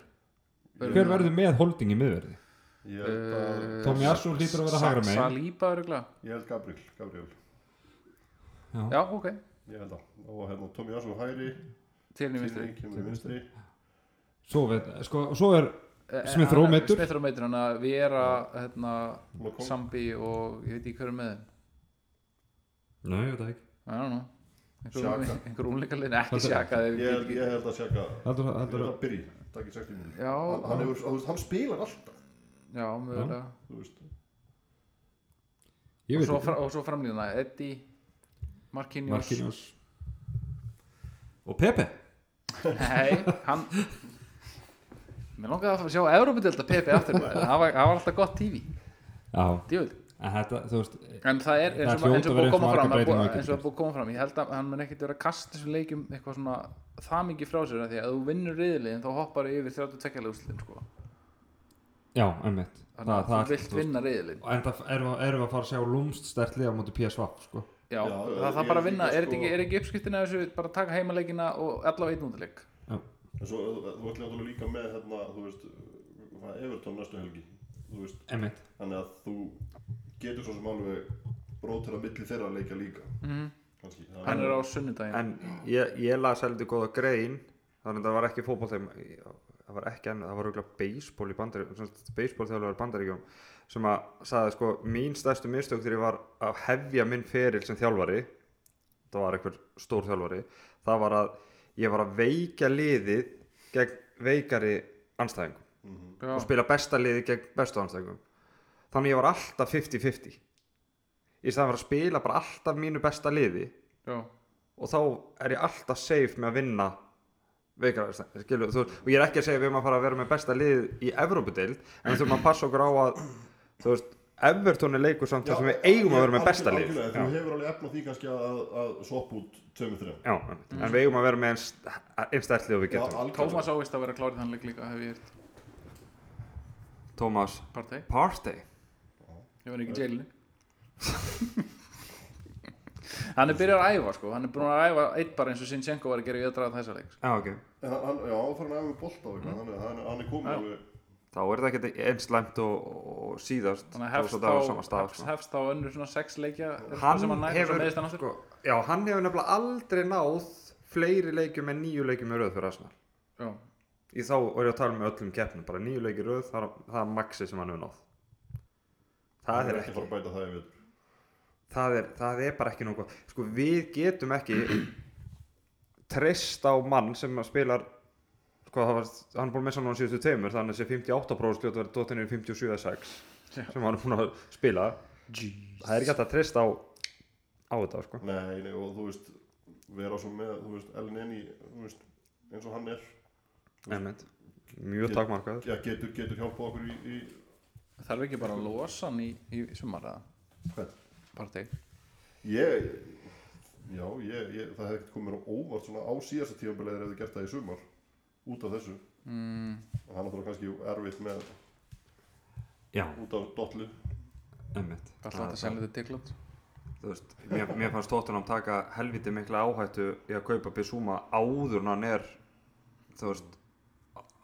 Hver verður með Holding í miðverði?
ég held að
Eh,
Tommy Arsson hlýtur að vera hægra megin.
Salíba öruglega
ég held Gabriel, Gabriel
Já, ok,
ég held að, og hérna Tommy Jarsson hæri
tilni
Tinni
vinstri
kemur í vinstri
Svo, við, sko, svo er
Eh,
Smith Rowe meiddur.
Smith Rowe meiddur, hann að Vera, hérna,
Lokong.
Sambi og ég veit ekki hverju með þeim
Nei, ég veit það ekki
I don't know
Xhaka.
Einhver- einhver úrleikarlið, ekki
Þetta-
sjaka
ég held- ég held að sjaka
Heldur,
ég held
heldur,
að byrji, takk í 60 minúti
Já,
hann, hann, hefur- þú veist, hann spilar alltaf
já, mögulega
þú veist.
ég
og
veit
svo,
ekki
fra, og svo framlýðuna Eddie Marquinhos,
Marquinhos Og Pepe
Nei, hann Mér langaði að fá að sjá Európa-delta Pepe aftur maður. það var, það var alltaf gott TV
Já,
djöfull.
en þetta, þú veist
En það er eins og
Það
eins og
hljóta
búið
verið
að koma
margar
fram að
breytingar
búið-
að
eins og
geta
búið að koma fram Ég held að hann mun ekkit vera að kasta þessum leikjum eitthvað svona það mikið frá sér af því að þú vinnur riðliðin þá hoppar yfir 32 leikjum sko.
Já, einmitt
Þannig
það-
að þú vilt
þú veist,
vinna riðliðin
En það erum, við- erum við að fara að sjá lúmst stertlið á móti PSV sko.
Já,
Já,
það
ég
þarf bara
er
að vinna
líka,
Er þetta
sko-
ekki, er ekki uppskiptin að þessu bara taka heimaleikina og allavega einn útileik
Já.
En svo þú þú ert náttúrulega líka með hérna, þú veist, hvað Everton næstu helgi, þú veist,
Emmett
þannig að þú getur svo sem alveg brótir að milli þeirra leikja líka,
Mhm.
kannski.
Hann er á sunnudaginn
En ég, ég las heldur góða grein þannig að það var ekki fótból þeim það var ekki annað, það var auðvitað beisból í bandaríkjum beisból þjóðlega í bandaríkjum sem að sagði sko, mín stærstu mistök þegar ég var að hefja minn feril sem þjálfari það var einhver stór þjálfari það var að ég var að veikja liðið gegn veikari anstæðingum
Já.
og spila besta liðið gegn bestu anstæðingum þannig ég var alltaf 50-50 í staðan var að spila bara alltaf mínu besta liði
Já.
og þá er ég alltaf safe með að vinna veikar skilu, þú, og ég er ekki að segja að við erum að fara að vera með besta lið í Evrópudeild en við þurfum að passa okkur á að þú veist, Everton er leikur samt þar sem við eigum að vera með besta lið
Algjörlega,
já,
þú hefur alveg efna því kannski að, að, að soppa út tömur þrejum.
já, einmitt. en við eigum að vera með eins, eins stærlið og við getum
Tómas ávist að vera klárið þannig líka hef ég hirt
Thomas
partæ
Partey
Ég var ekki í jailinu Hann er byrjar að æfa sko Hann er búin að æfa eitt bara eins og Sinchenko var að gera í öðdrað þessa leiks
já, ok
En hann, hann- já, hann fann að hafa bólt á eitthvað, þannig að hann, hann er komin
Já.
alveg,
þá er það ekki eins læmt og, og síðast
Þannig
þó
að hefst
svo það var
þá,
sama stað,
hefst,
sko.
hefst þá önnur svona sex leikja
hann
sem hann nægur svo meðist hann
hefur
aftur
sko, já, hann hefur nefnilega aldrei náð fleiri leikjum en nýju leikjum í röð fyrir Arsenal
Já,
í þá er ég að tala með öllum keppnum bara nýju leikir röð, það er, það er maxi sem hann hefur náð það
hann
er
er ekki að
ekki
fara að bæta það í vetur.
það er, það er bara ekki nógu gott. sko við getum ekki treyst á mann sem að spilar sko það var, hann er búin með sann á hann síðustu teimur þannig að þessi 58 prófust ljótt verið dóttinni 57-6 sem hann er búin að spila það er ekki hægt að treysta á á þetta sko
Nei, nei, og þú veist, vera svo með, þú veist, Elin Eni, þú veist, eins og hann er,
Einmitt. mjög takmarkað
já, getur, getur hjálpað okkur í, í
þarf ekki bara að losa hann í, í sumar eða
hvað?
partæ
Ég, já, ég, ég, það hefði ekkert komið mér á óvart svona á síðasta tímanbilið eða hefði gert það í sumar út af þessu.
mm,
Og Það er náttúrulega kannski erfitt með
já,
út af dollu.
emmitt
Alltaf þetta selja þetta Tyrkland
þú veist, mér, mér fannst Tottenham taka helviti mikla áhættu í að kaupa Bissúma áður en hann er þú veist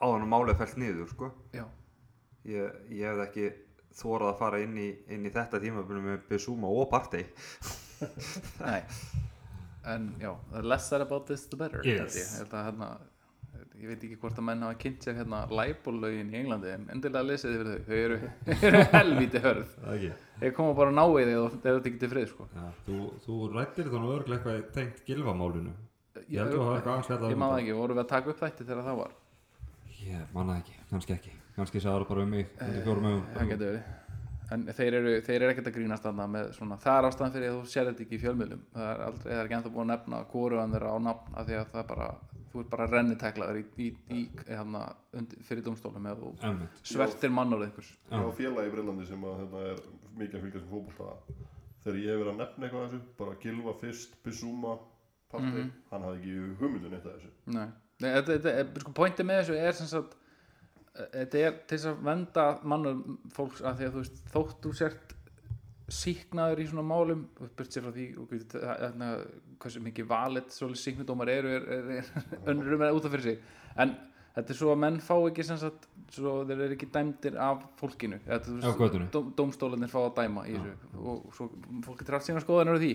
áður en málið er fellt niður sko
Já,
ég, ég hefði ekki þórað að fara inn í, inn í þetta tímabunum með Bissúma og Partey
nei En já, the less said about this the better
Yes.
held ég. Ég held að hérna Ég veit ekki hvort að menn hafa kynnt sér hérna læbólögin í Englandi en endilega lesið yfir þau, þau eru, þau eru helvíti hörð
Það ekki
Þeir koma bara að ná í þig ef þú ert ekki til frið sko.
Já, þú, þú rættir þetta nú örglega eitthvað tengt gilvamálinu Ég held að þú hafir eitthvað aðeins fjallað
Ég
um
maður
þetta.
ekki, vorum við að taka upp þætti þegar það var
Ég manna ekki, kannski ekki Kannski sagði það bara um mig undir fjórum
Það
augum
getur verið En þeir eru, þeir eru ekkert að grínast þarna með svona, það er ástæðan fyrir að þú sér þetta ekki í fjölmiðlum það er, aldrei, það er ekki ennþá búin að nefna kóruðan þeirra á nafn af því að það er bara, þú ert bara renniteklaður í, í, í, hérna, undir, fyrir dómstólum eða þú
Emmett
svertir mannur einhvers
Ég á félagi í Breilandi sem að þetta er mikið að fylgja sem fótbolta. Þegar ég hef verið að nefna eitthvað af þessu, bara Gilva fyrst, Bissúma, Patti, hann hafði ekki hugmyndun eitt af þessu.
Nei, Nei þetta, þetta, er- sko, pointið með þessu er sem sagt eh, þetta er til þess að venda mannum fólks að því að þú veist þótt þú sért síknaður í svona málum og burt sér frá því og guð, það- þarna, hversu mikið valet svolítið síknudómar eru er, er, er önrum er út af fyrir sig en þetta er svo að menn fá ekki sem sagt svo þeir eru ekki dæmdir af fólkinu Eða þú
Af götunni.
dóm, dómstólanir fá að dæma í þessu og svo fólk getur allt sína skoðanur á því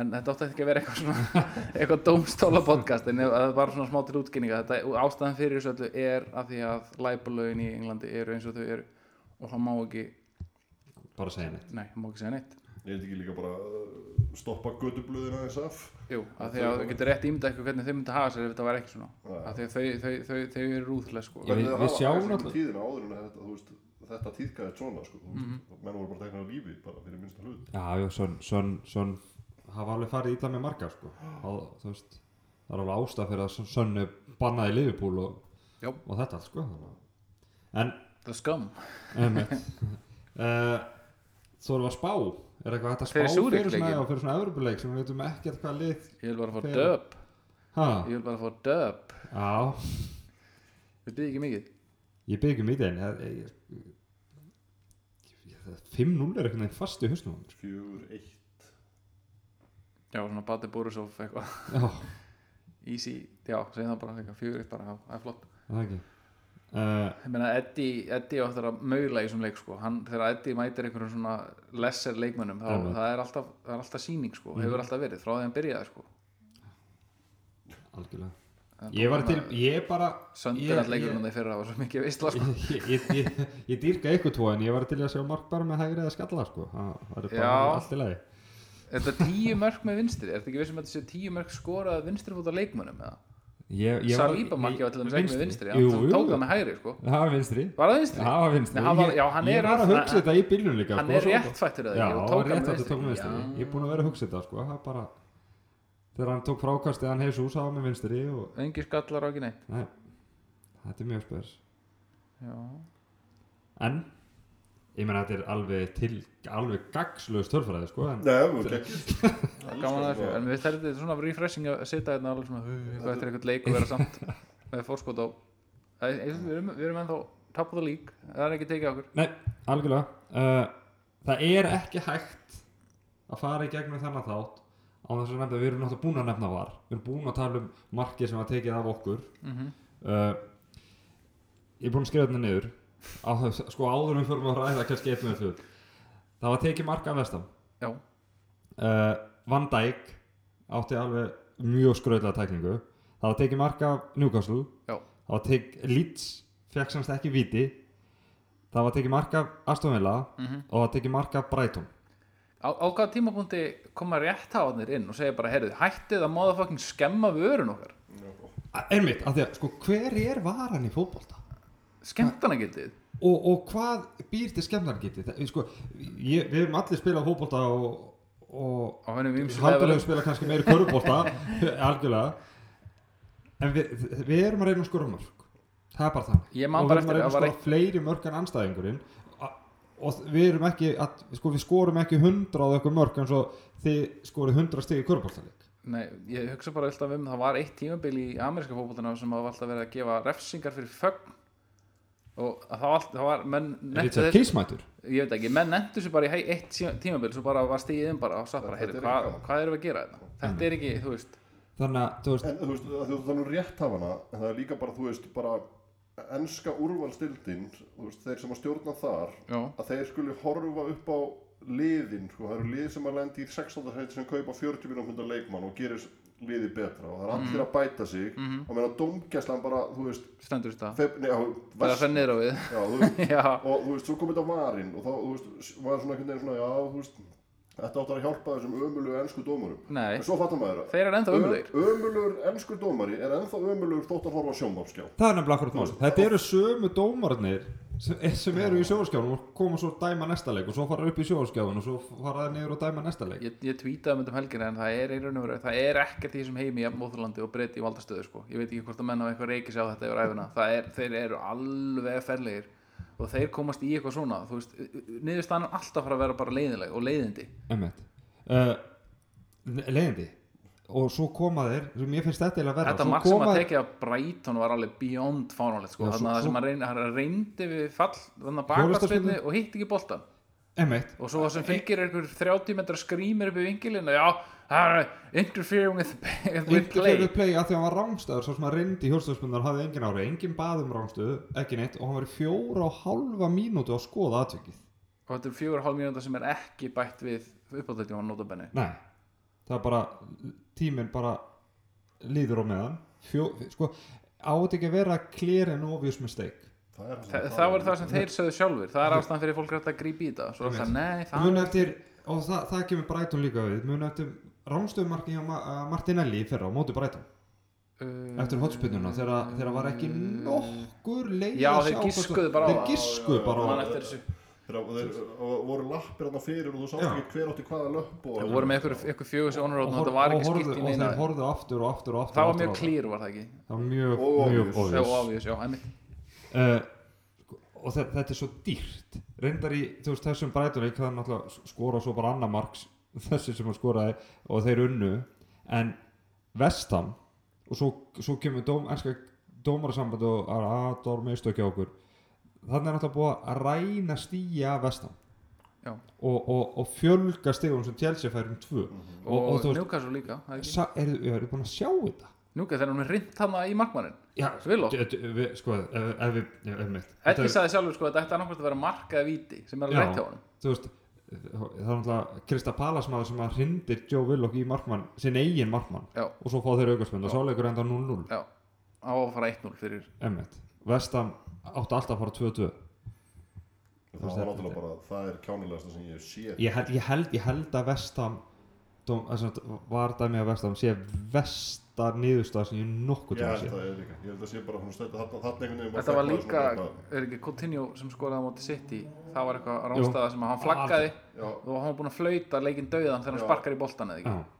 en þetta átti ekki að vera eitthvað svona eitthvað dómstóla podcast en ef- að það var svona smá til útskynninga þetta og ástæðan fyrir þessu öllu er að því að læpulögin í Englandi eru eins og þau eru og hann má ekki,
Bara segja neitt
nei, hann má ekki segja neitt
Ég veit ekki líka bara uh, stoppa gödublöðin aðeins af.
Jú, að því að þau getur rétt ímynda eitthvað hvernig þau mynda hafa sér ef þetta var ekki svona
Já.
að því að þau, þau, þau, þau eru rúðlega sko
Ég- við-
Hvernig
við
það
sjáum
hafa gegnum
náttúrulega-
tíðina áður en að þetta, þú veist, þetta tíðkaði svona, sko, þú veist,
Mhm.
menn voru bara teknar á lífi, bara fyrir minnsta hlut.
Já, já, svon, svon, svon hafa alveg farið ítla með marga sko. það, þú veist, það er alveg ástæð fyrir að Sönnu bannaði Liverpool og,
Já.
og þetta allt sko. þannig að- En
The scum,
einmitt,
Eh,
uh, þú erum að spá er eitthvað hægt að spá
Fyrir Zurich-leikinn?
svona, já, fyrir svona Evropuleik sem við veitum ekkert hvað lið
ég vil bara fá
Fyrir-
döp
ha,
ég vil bara fá döp
Já,
við byggjum ekki mikið
ég byggjum í þeim ég, ég, ég, það- 5-0 er eitthvað fast í hausnum á mér.
Fjögur, eitt.
Já, svona Bati Borisov eitthvað
Já,
easy, já, segjum það bara líka, fjögur eitt bara, já, það er flott
Er það ekki uh,
ég meina, Eddie, Eddie áttur að maula í þessum leik, sko, hann, þegar Eddie mætir einhverjum svona lesser leikmönnum, þá
Alveg.
það er alltaf, það er alltaf sýning, sko,
Mhm.
hefur alltaf verið, frá því hann byrjaði, sko
algjörlega ég var til, ég bara ég-
söndir að
ég-
leikurinn þeir fyrra var svo mikið veistla, sko
ég, ég, ég, ég dýrka ykkur tvo en ég var til að sjá mark bara með hægri eða skalla sko. það það er bara
Já.
allt í lagi
Er þetta tíu mörg með vinstri? Er þetta ekki vissum að þetta sé tíu mörg skorað vinstrifóta leikmönnum eða?
ég, ég var-
Salíba markið var til dæmis ekki með vinstri,
jú,
hann
jú.
tók það með hægri sko.
það var vinstri
Var það vinstri?
það var vinstri
Nei, hann var-
Ég-
já, hann
ég
er-
var að hugsa
hann-
þetta í bílunum líka
hann
sko,
er
svo-
réttfættur eða
já,
ekki, og
hann
tók
var
hann með
rétt að tók með
vinstri.
vinstri ég er búin að vera að hugsa þetta sko. það er bara þegar hann tók frákastið hann hefði það var með vinstri og
Engi skallar og ekki neitt
nei, þetta er mjög spes
Já,
en ég meina þetta er alveg til alveg gagslaust törfæraði sko, en
Nei, ok
gaman að þessu,
sko.
en við þærðum þetta svona refreshing að sitja hérna alveg svona "Ugh, eitthvað eftir eitthvað leik og vera samt með fórskot á Æ, ég- Við erum, við erum ennþá top of the league, það er ekki tekið okkur
Nei, algjörlega uh, Það er ekki hægt að fara í gegnum þennan þátt á þess að nefna, við erum náttúrulega búin að nefna var við erum búin að tala um markið sem var tekið af okkur
Mhm.
uh, Ég er búin að skrifa þetta niður á, þess- sko áður um förum að ræða kannski eitt með þau Það var tekið mark af vestam
Já,
uh, Van Dijk átti alveg mjög skröðlega tækningu það var tekið marka Newcastle
Já.
það var tekið Leeds fekk semst ekki viti það var tekið marka Aston Villa
Mhm.
og það var tekið marka Brighton
á, á hvaða tímapunkti koma rétt hafarnir inn og segja bara, heyrðu, hættið að móða fucking skemma vörun okkar
A- einmitt, af því að sko hver er varan í fótbolta
Skemmtanagildið
og, og hvað býr til skemmtargeti sko, ég, við erum allir spilað fótbolta og, og
á hennum
Haldur
ymsum
hefur spilað kannski meiri körubólta algjörlega en við, við erum að reyna að skora mörg það er bara þannig
Ég man
og
bara
við erum að
eftir,
reyna að
það var
skora fleiri mörg en anstæðingurinn A- og við erum ekki að, sko, við skorum ekki hundrað eitthvað mörg eins og þið skorið hundrað stig í körubóltaleik
Nei, ég hugsa bara alltaf um það var eitt tímabil í ameríska fótboltana sem hafa alltaf verið að gefa refsingar fyrir fögn og það var, alltaf, það var menn nenntu
Richard
þessu,
Keismætur
ég veit ekki, menn nendur sér bara í hei- eitt sí- tímabil svo bara var stigið um bara og satt bara,
Þetta
heyrðu,
er ekki
hvað,
gaman."
hvað erum við að gera hérna?" þetta? Þetta er ekki, þú veist,
þannig að, þú veist,
En þú veist, að þú þannig rétt hafa hana En það er líka bara, þú veist, bara Enska úrvalstildin þú veist, Þeir sem að stjórna þar
já,
Að þeir skuli horfa upp á liðin sko. Það eru lið sem að lendi í 16. hætt sem kaupa 40 mínúfundar leikmann og gerir liði betra og það er
Mhm.
allir að bæta sig mm -hmm. og meðan dómgæslan bara, þú veist
stendur þetta
feb, nei, á,
Það er
vest,
það niður á við,
já, þú veist,
já,
og þú veist, svo kom þetta á varinn og þá, þú veist, var svona einhvern veginn svona, já, þú veist, þetta áttar að hjálpa þessum ömulu ennsku dómurum.
nei,
En svo fattar maður það.
þeir eru ennþá umlegir
Ömulur ennsku dómari er ennþá ömulur þótt að horfa á sjónvarpskjá.
það er nefnilega akkurat mál þetta eru sömu dómarnir sem, sem eru í sjóðskjáðunum og koma svo að dæma næsta leik og svo fara upp í sjóðskjáðunum og svo fara það niður og dæma næsta leik
Ég, ég tweetaði um þetta um helgina en það er í raun og veru það er ekkert í þessum heimi jafn móðurlandi og breyti í valdastöðu sko. ég veit ekki hvort að menna á eitthvað reykis á þetta yfir æfina það er, þeir eru alveg ferlegir og þeir komast í eitthvað svona þú veist, niðurstaðan er alltaf að fara að vera bara leiðinleg og leiðindi
Emmett uh, Leiðindi Og svo koma þeir, sem ég finnst þetta eða verða
þetta mark sem að tekið að Brighton var alveg beyond fánálegt
Já,
sko.
svo-
þannig að
svo-
sem að reyndi, hann reyndi við fall þannig að bakvartspilni og hitt ekki boltan
Emmett,
og svo sem fylgir einhver 30 metra skrýmir upp í vingilinu já, það er interfering with, with
yndi
play
fyrir play að því að hann var rángstöður Svo sem að reyndi í hjólstöðspunnar hafði engin ári Engin bað um rángstöðu, ekki neitt Og hann var í fjóra og halva mínútu að skoða atvikið
og þetta eru fjögur og hálf mínúnda sem er ekki bætt við uppátættjum á notabenni
Nei, það er bara Tíminn bara líður á meðan Fjó, Sko, átt ekki að vera clear and obvious mistake
Það er um.
Þa, það var það sem þeir sögðu sjálfur það er ástæðan fyrir fólk rætt að grípa í þetta svo er alltaf, nei, það
mun eftir, og það, það kemur Brighton líka við mun eftir rámstöðumarki hjá Ma- uh, Martinelli í fyrra á móti Brighton
uh,
eftir hotspinnuna þegar þegar var ekki nokkur leið
Já,
að
þeir
sjá hvort-
giskuðu bara á
þeir
það.
giskuðu bara á
mann
það.
eftir þessu
Þeirra, og þeir og voru lappir hann á fyrir og þú sátt
Já.
ekki hver átti hvaða löpp og...
það voru með ykkur, ykkur fjögur sjónur og
og,
þetta
horf,
var
og,
ekki
horfðu,
skipt í
og
neina
þeir horfðu aftur og aftur og aftur aftur
það var
á
mjög klýr, var það ekki
það var mjög,
Og
mjög
obvious.
það var
óvís
obvious, já, einmitt
uh, og þetta, þetta er svo dýrt reyndar í þú veist, þessum breytunleik það er náttúrulega skora svo bara annar marks þessi sem hann skoraði og þeir unnu en vestam og svo, svo kemur dóm, enska dómarasamband og að aðdór meðstökja okkur þannig er náttúrulega búið að ræna stíja vestam
Já.
og, og, og
Mhm.
fjölga stigum sem Chelsea fær um tvö og, og,
og
þú veist,
Newcastle líka, það er ekki
sa, er, er, er búin að sjá þetta
Núka þegar hún er rint þarna í markmannin
Já,
Svilo.
d- d- við- sko, ef ef við, ef við mitt
Helgi sagði sjálfur sko að þetta er nákvæmst að vera markað víti sem er
Já.
alveg rétt hjá honum
þú veist það er náttúrulega Krista Palasmaður sem að hrindir Joe Willock í markmann, sinn eigin markmann
Já.
og svo fá þeir aukarsmynd og sáleikur enda 0-0
Já, á að fara 1-0 fyrir
emmitt, Vestam átti alltaf að fara 2-2
það var náttúrulega bara, það er kjánilegasta sem ég hef séð
ég held, ég held, ég held að Vestam dóm, að sem sagt, var dæmi að Vestam sé vestar niðurstað sem ég nokkuð
ég
tíma
held
sé
það er líka, ég held að sé bara hún stætti þarna þarna einhvern veginn
Þetta var
flagglaði
líka,
svona eitthvað.
er ekki Coutinho sem skoraði á móti City Það var eitthvað ránstæða sem að hann flaggaði
Já.
og hann var búin að flauta leikinn dauðan þegar hann
Já.
sparkar í boltan eða
Já.
ekki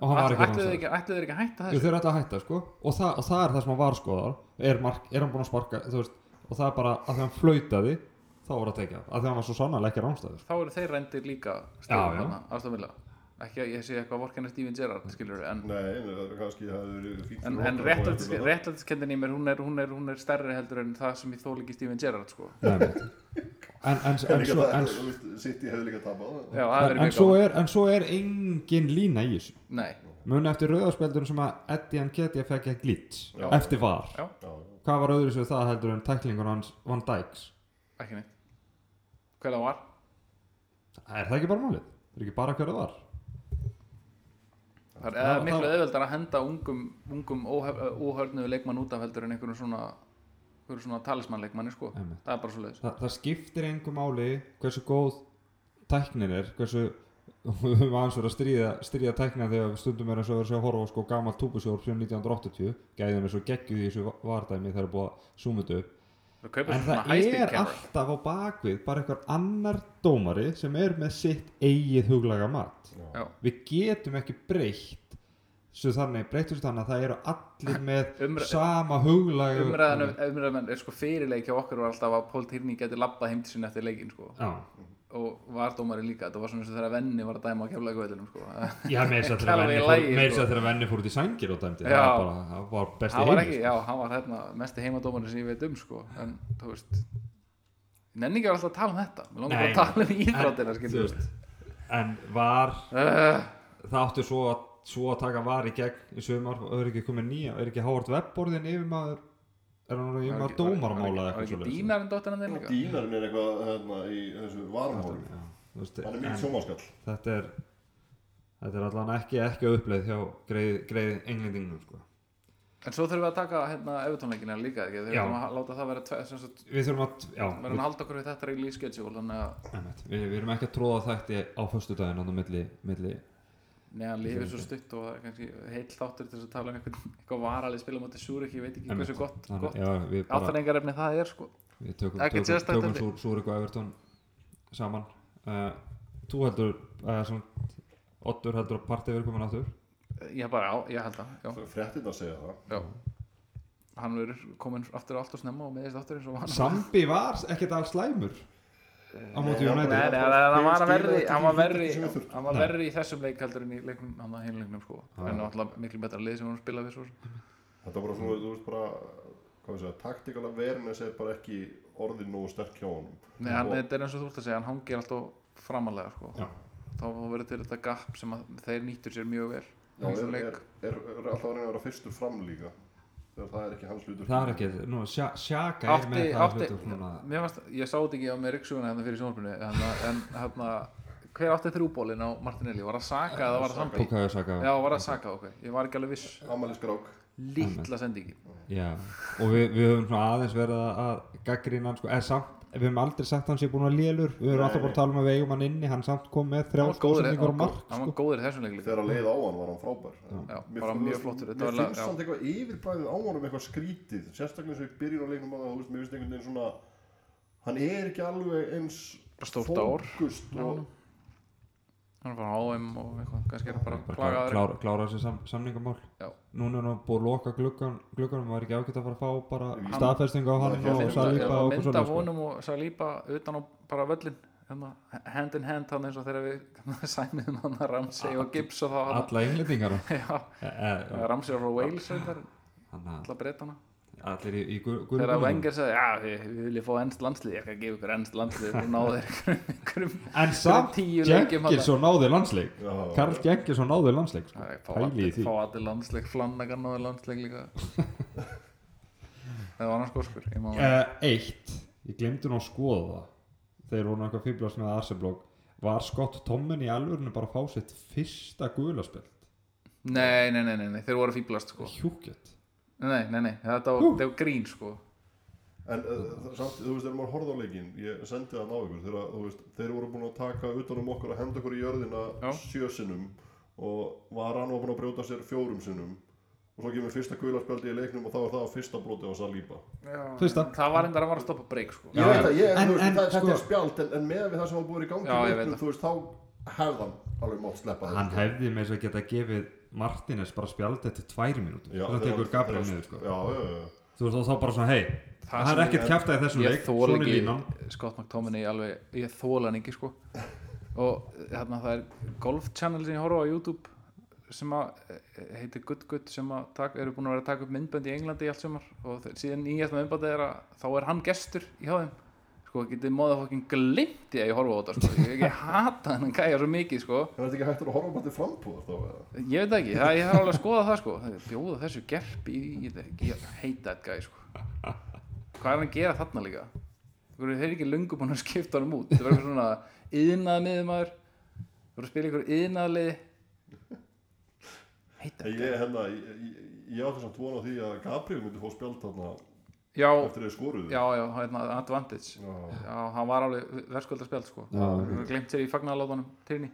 og hann var
Ætluðu
ekki rangstæður.
þeir ekki, ætluðu þeir ekki að hætta
Jú,
þessu?
þeir ætla að hætta sko og það, og það er það sem hann var skoðar er, mark, er hann búinn að sparka þú veist, og það er bara að þegar hann flautaði þá voru að tekja af, af því hann var svo sannarlega ekki ránstæður
Þá eru þeir rendir líka
Já, já.
aðstofnvilla Ekki að ég sé eitthvað vorkenna Steven Gerrard skilur en,
Nei, nei, það er kannski það hefur verið fínt
en,
fyrir
en
okkur að fá
réttlætis-
einhvern veginn.
réttlætiskendin í mér hún er, hún, er, hún er stærri heldur en það sem ég þól ekki Steven Gerrard sko.
Nei, einmitt. en, en, en,
En
en,
líka
svo,
það,
en,
þú veist, City hefur líka tapað
Já, það
en,
verður
en,
mjög
svo
gaman
er, en svo er engin lína í þessu
Nei,
muni eftir rauðarspjaldun sem að Eddie Nketi fekk ekki glits
Já.
eftir var
Já.
Já,
hvað var öðru sem það heldur en tæklingun hans Van Dijks
ekki neitt Hver það var?
er það ekki bara málið? er ekki bara hver það var?
Það
Það-
er miklu
það-
auðveldar að henda ungum, ungum óhörnuðu leikmann út af heldur en einhverjum svona, einhverjum svona talismannleikmanni sko.
Einmitt.
Það er bara svo leiðis.
Þa, það skiptir engu máli hversu góð tæknin er hversu við höfum aðeins verið að stríða, stríða tækna þegar stundum er eins og verið að horfa á sko gammal túbusjór frá 1980 gæðum eins og geggjuð í þessu vardæmi þegar er búið að zooma þetta upp
Það kaupir
en
svona
það
high-speed
er
camera.
alltaf á bakvið bara einhver annar dómari sem er með sitt eigið huglaga mat
Já.
við getum ekki breytt svo þannig, breytt þessu þannig að það eru allir með
Umræ-
sama huglaga
Umræðan um, umræðan er sko fyrirleik hjá okkur var alltaf að Pól Tyrni geti labbað heim til sinni eftir leikin sko.
Já.
Og vardómari líka. Það var svona eins og þegar venni var að dæma á keflaði góðilum sko.
Já, meira þess að þeirra
Alveg
venni
í
fór,
lagi,
meira þess
sko.
að þeirra venni fór út í sængir og dæmdi,
Já.
það var bara, það var besti sko.
hann var
heimil.
ekki, já, hann var hérna mesti heimadómari sem ég veit um sko. En þú veist, nenni ekki alltaf að tala um þetta. Mér langar bara að tala um íþróttina
þú
skilur.
veist, en var,
Uh,
það áttu svo að, svo að taka var í gegn í sömur og er ekki komið nýja, er ekki Hávart Webborðin yfir maður, er hann yfir maður dómarmála eða
eitthvað
eitthvað
svo
svo
leiðis. Dínarinn dóttirna þeim líka.
Dínarinn er eitthvað hérna, í þessu varumhórum
Þú veist,
Hann er mjög
en
sjómáskall
þetta er, þetta er allan ekki, ekki á uppleið hjá greið, greið englendingum, sko.
En svo þurfum við að taka hérna efutónleikina líka ekki? Þegar
Já.
við þurfum að láta það vera tve, sem sagt,
Við þurfum að, já,
við
við,
verðum að halda okkur við þetta regl í schedule þannig að
einmitt, við, við erum ekki að tróða þætti á föstudaginn, hann á milli, milli
neðan lifir svo stutt og það er kannski heill þáttur til þess að tala um eitthvað, eitthvað varalið spila mútið Súrik, ég veit ekki
Einmitt.
hversu gott,
Þannig,
gott
já, við bara,
áþrengarefni það er sko
við tökum,
Ekkert
tökum,
sérstakt
tökum
heldur.
súr, Súrik og Everton saman uh, þú heldur uh, svona, Oddur heldur að partið verið komin aftur
Ég bara, já, ég held það, já,
Fréttirna segja það
já Hann verður komin aftur allt og snemma og meðist aftur eins og hann
Sambi var ekkert alls slæmur á móti United
Eh, Nei, nei, hann var verri hann var verri,
Ég skil þetta ekki sem við
hann var
Nei.
verri í þessum leik heldur en í leiknum, hann að hinleiknum sko
Já.
en alltaf miklu betra lið sem hann spila við sko. svo sem.
Þetta var svona, þú veist bara hvað við segja, taktikala verðinnes er bara ekki orðin nógu sterk hjá honum
Nei, hann,
Og-
þetta er eins og þú ert að segja, hann hangir alltaf framalega sko.
Já.
Þá verður til þetta gap sem að þeir nýtur sér mjög vel.
Já,
Í þessum
er,
leik.
er, er, er alltaf að reyna að vera fyrstur fram líka þegar það er ekki hans hlutur
það er ekki, nú, sja, Sjaka er
átti,
með það
átti,
hlutur núna
mér fannst, ég sá þetta ekki á með ryggsuguna hérna fyrir sjónvarpinu, en, en hérna, hver átti þrjúbólinn á Martinelli? Var að saka eða var að sambi?
Pukaðu Sjaka
Já, var að saka, ok. Ég var ekki alveg viss.
Amalisgrák
Lítla sendingi.
Já, og við, við höfum svona aðeins verið að- að gaggrina hann sko, eða samt, við höfum aldrei sagt að hann sé búin að lélur við höfum
Nei,
alltaf bara að tala um að veigum hann inni hann samt kom með þrjá
Hann var góður- hann
skóðsendingur og
var
mark
hann var
sko.
góður í þessum leik líka.
þegar að leið á hann var hann frábær
Já,
Mér
bara
finnst-
mjög flottur. Þetta
Mér
var lag-
finnst
já.
samt eitthvað yfirbræðið á honum eitthvað skrítið sérstaklega eins og ég byrjun á leiknum að þú veist, mér finnst einhvern veginn svona hann er ekki alveg eins
Bara stórt ár.
fókust og
Hann var bara á HM og eitthvað, kannski er hann bara
bara
klagaður.
klára, klára, klára þessi sam, samningamál
Já.
núna er hann búið að loka gluggan, glugganum var ekki ágætt að fara að fá bara
Hann-
staðfestingu á hann
Já,
Ég
og
mynda- ég
Saliba
var
og
að mynda
eitthvað sko. svona
honum og Saliba utan á bara völlin hérna, hand in hand hann eins og þegar við sæniðum hann að Ramsey og Gibbs og þá hann
alla englendingar
já,
þannig
Ramsey var frá Wales reyndar,
að
alla breytana
allir í, í gu- gulum
Þegar
búningum.
Wenger sagði, já, við við viljum fá ennst landslið, ég ætla að gefa ykkur ennst landslið og náðu þeir einhverjum- einhverjum
en samt
tíu leikjum hana.
Jenkinsson náði landsleik
Já.
Karl Jenkinsson náði landsleik sko.
Nei, Fá
pæli í
allir,
því
fá allir landsleik, Flannagan náðu landsleik líka Það var annars góðskur ég má-
uh, Eitt, ég glemdi nú að skoða það þegar voru eitthvað fýblast með Arseblók var Scott Tommen í alvörinu bara að fá sitt fyrsta gulaspjöld
Nei, nei, nei, nei, nei, þeir voru fíblast sko
hjúkjöld
Nei, nei, nei, þetta var,
Hú.
þetta var grín sko
En uh, samt, þú veist, þegar maður horfði á leikinn, ég sendi það á ykkur, þegar þú veist, þeir voru búin að taka utan um okkur að henda okkur í jörðina
Já.
sjö sinnum og var hann búin að brjóta sér fjórum sinnum og svo kemur fyrsta guðlarspjaldi í leiknum og þá er það á fyrsta broti á Salíba.
Fyrsta.
Það var endar að var að stoppa breyk sko
Ég veit það, ég,
En-
en, veist,
en,
það, þetta
sko-
er spjald, en, en með við það sem var búin í gangi
Já,
í
ég
leiknum,
veit
þú veist, þá hefðan alveg mátt sleppa
hann hefði með þess að geta gefið Martínez bara spjald eftir tvær mínútur þannig að tekur Gabriel niður sko.
Já, já, já.
þú veist og þá bara svona hei það,
sem
er
ég-
ekkert kæft að þessum
Ég
leik
þóla
svona er línan
ekki Scott McTominay alveg, ég þóla hann ekki sko og hérna það er golf channel sem ég horfa á YouTube sem að eh, heitir Good Good sem að tak, eru búin að vera að taka upp myndbönd í Englandi í allt sumar og þeir- síðan nýjast með myndbönd er að þá er hann gestur í hafðum sko getið móða fokkin glimt í að ég horfa á þetta sko. ég, ég hata hann gæja svo mikið sko
Er þetta ekki hægt að horfa bara til frambúðar þá eða?
ég veit það ekki, það, ég þarf alveg að skoða það sko Þeir bjóða þessu gerp í, ég, veit ekki, ég heita þetta gæði sko hvað er hann að gera þarna líka þeir eru ekki löngu búin að skipta honum út það verður svona yðnað miðumæður þú verður að spila ykkur yðnaðlið heita
Ég,
þetta
ég, hérna, ég, ég- ég átti samt vona því að Gabriel myndi fá spjald þarna
já,
eftir þeir skoruðu.
já, já, hérna advantage
Já.
já, hann var alveg verðskulda spjald sko
Já,
hann hefur glemt sér í fagnaláðunum tyrni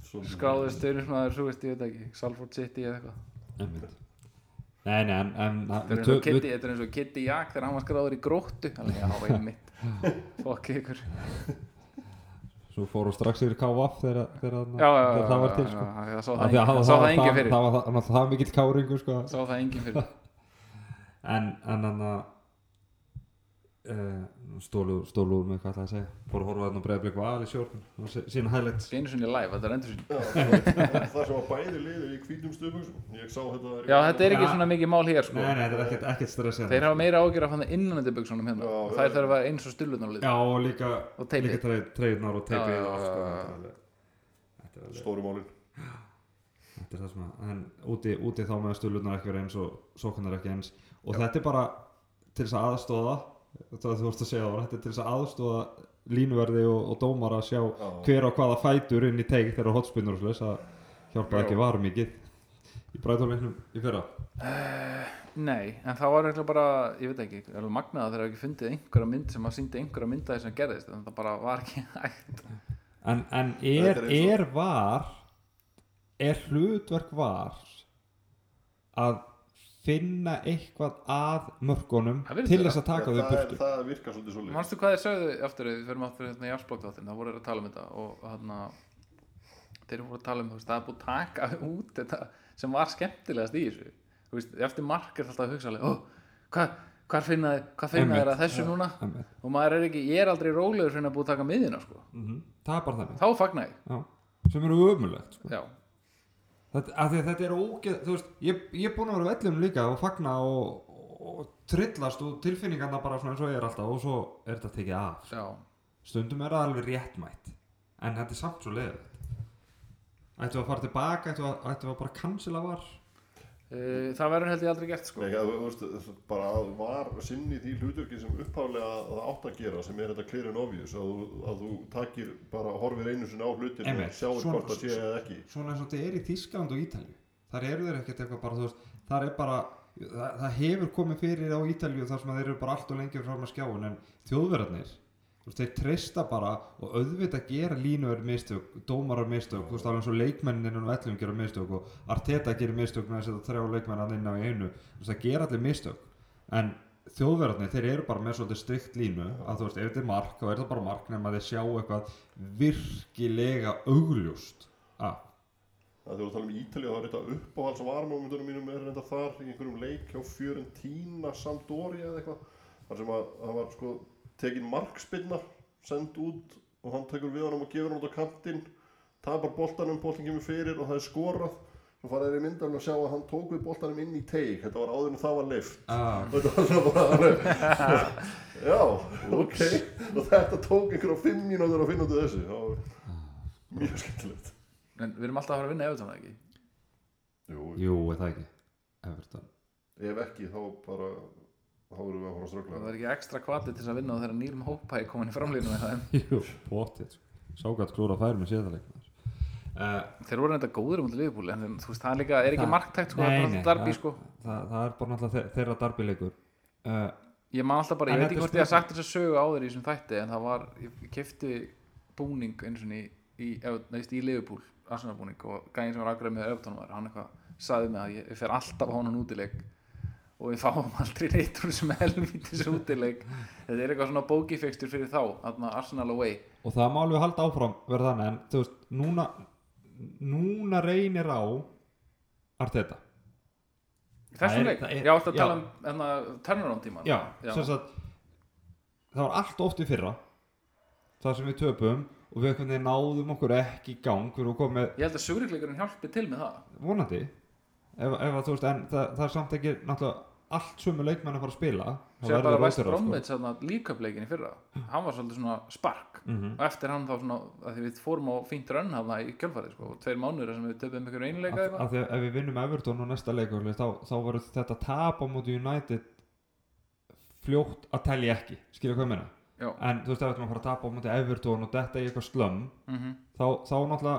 Svolítið.
skráður styrnismæður, svo veist ég veit ekki Salford City eða eitthvað
Einmitt. Nei, nei, en, en
Þetta er eins og Kitty, þetta er eins og Kitty Jack þegar hann var skráður í gróttu Þannig að hafa einmitt Fokk ykkur Já,
svo fóru strax yfir KVF þegar, þegar,
já, já,
þegar það var til
já,
sko.
já, já, Sá
Af
það
því að
enginn- sá það engin fyrir
það var, það, náttúrulega það var mikill káringu sko.
Sá það engin fyrir
en en hann að uh, stólu stólu úr mig hvað það að segja fóru að horfa þarna breyðblik val í sjórn síðan highlights
Ekki einu sinni live, þetta er endur sinni
Já, það sem var bæði liður í hvítum stöðbuksum Ég sá þetta
Já, þetta er ekki
Já.
svona mikið mál hér
nei,
sko
nei, þetta er ekkert, ekkert stress hérna.
Þeir hafa meira ágjör að fann það innan þetta buksunum hérna
Já,
Og
já,
þær
já.
þarf að vera eins og stullunar lið
já, og líka,
Og teipið.
líka treyð- treyðnar og teipið
Já, já,
og allt, sko.
já, já.
Þetta er alveg- þetta er alveg-
Stóru málin
þetta er það sem að en úti, úti þá með stölunar ekki vera eins og sókunar ekki eins og þetta er bara til þess að aðstóða það þú vorst að segja það var, þetta er til þess að aðstóða línuverði og, og dómar að sjá hver á hvaða fætur inn í teik þegar hotspinnur og slags að hjálpa ekki var mikið í bræðuleiknum í fyrra
Nei, en það var eitthvað bara, ég veit ekki Alveg magnað að þeir hafa ekki fundið einhverja mynd sem að síndi einhverja mynd að þess að gerðist En það bara var ekki hægt
en, en er,
Þetta er eins og-
er var er hlutverk var að finna eitthvað að mörkunum
Það virðist
til
vera.
þess að taka þau
það, er,
burtu
það virkar svolítið svolítið
Manstu hvað þeir sögðu aftur við förum aftur hérna í ársblókdáttin þá voru þeir að tala um þetta og hérna þeir voru að tala um þú veist, það er búið að taka út þetta sem var skemmtilegast í þessu Þú veist, eftir mark er það alltaf að hugsa alveg, oh, hvað, hvað finna, þeir- hvað finna
Einmitt.
þeir að þessu núna
Einmitt.
og maður er ekki, ég er aldrei rólegur fyrir að búið að taka miðina sko.
Mhm, það er bara þannig
þá fagna ég
Já. sem eru ömulegt sko.
Já,
þetta, af því að þetta er ógeð þú veist, ég, ég er búin að vera á vellum líka og fagna og, og trillast og tilfinningarna bara svona eins og ég er alltaf og svo er þetta tekið af
já,
stundum er það alveg réttmætt en þetta er samt svo leiðilegt ættu að fara tilbaka, ættu að, ættu að bara cancela var
uh, það verður held ég aldrei gert sko.
Nei, þú þú veist, bara að var sinni því hluturki sem upphaflega það átt að gera sem er þetta clear and obvious að þú, að þú takir bara horfir einu sinni á hlutin
Einmitt.
og sjáir
Svona-
hvort það sé eða ekki
svona eins og þetta er í Þískland og Ítalju þar eru þeir ekkert eitthvað bara þú veist þar er bara, það, það hefur komið fyrir á Ítalju þar sem að þeir eru bara allt og lengi frá með skjáin en þjóðverðarnir þú veist, þeir treysta bara og auðvitað gera línuður mistök, dómarar mistök þú veist, alveg eins og leikmennin og vellum gera mistök og Arteta gerir mistök með þess að þrjá leikmennan inn á í einu, þú veist, það gera allir mistök en þjóðverðarnir, þeir eru bara með svolítið strikt línu að þú veist, ef þetta er mark, þá er það bara mark nema þeir sjá eitthvað virkilega augljóst að
að þegar þú tala um Ítalíu þá er þetta uppáhalds varmómyndunum mínum er reynda þar í einhverjum leik hjá Fjörentína Sampdóri eða eitthvað þar sem að það var sko tekin markspinnar send út og hann tekur við honum og gefur hann út á kantinn tapar boltanum, boltan kemur fyrir og það er skorað og fara þeir í myndan og sjá að hann tók við boltanum inn í teig þetta var áður en það var lift
Ah,
og þetta var svona bara alveg já, ok og þetta tók einhverja fimm mínútur að finna út af þessu það var mjög skemmtilegt
En við erum alltaf að fara að vinna Evertón, eða ekki?
Jú,
jú, er það ekki Everton
ef ekki þá bara þá erum við að fara að
Það
ströggla
var ekki ekstra kvati til þess að vinna þegar Nýrum Hópa er komin í framlýnum með þeim.
Jú, bóttið Ságat klúra fær með síðanleikna uh,
Þeir voru reynda góður um til Liverpool, en þú veist, það er líka, er ekki
Það-
marktækt, sko, það er alltaf darbi, sko.
það, það er bara náttúrulega þe- þeirra darbileikur uh,
Ég man alltaf bara,
En
ég
þetta
veit
er
ekki hvort ég hef
spurning.
sagt þess að sögu áður í þessum þætti, en það var, ég kefti búning eins og í, í, Ever- nei, veist, í Liverpool, Arsenal búning, og gæðin sem var aðgræð með Evertón var, hann eitthvað sagði mig að ég, ég fer alltaf á hann útileik og við fáum aldrei neitt úr sem helvítis útileik. Þetta er eitthvað svona bókifekstur fyrir þá, þarna Arsenal away.
og það má alveg halda áfram verða þannig en þú veist, núna núna reynir á Arteta
Þessum
Það er-
leik?
það er-
Já, þetta
já.
tala um enna, turnaround tíman
já,
já.
sem sagt það var allt oft í fyrra það sem við töpum og við einhvern veginn náðum okkur ekki í gang við erum komið
Ég held að Súrikleikurinn hjálpi til með það
vonandi ef, ef að þú veist, en það, það er samt ekki náttúrulega allt sömu leikmenn að fara að spila þá
Sér
verður
bara West
óþarfa,
Bromwich sko. líkapleikin í fyrra Hann var svolítið svona spark
Mhm.
Og eftir hann þá svona að Því við fórum á fínt rönn hann í kjölfarið sko, og Tveir mánuður sem við töfum ykkur einleika
af,
eitthvað.
af því að ef við vinnum Everton og næsta leikur þá, þá verður þetta tap á móti United fljótt að telja ekki skilja hvað ég meina
Já,
en þú veist ef við ætlum að fara að tapa á móti Everton og þetta í eitthvað slum
mhm.
þá, þá náttúrulega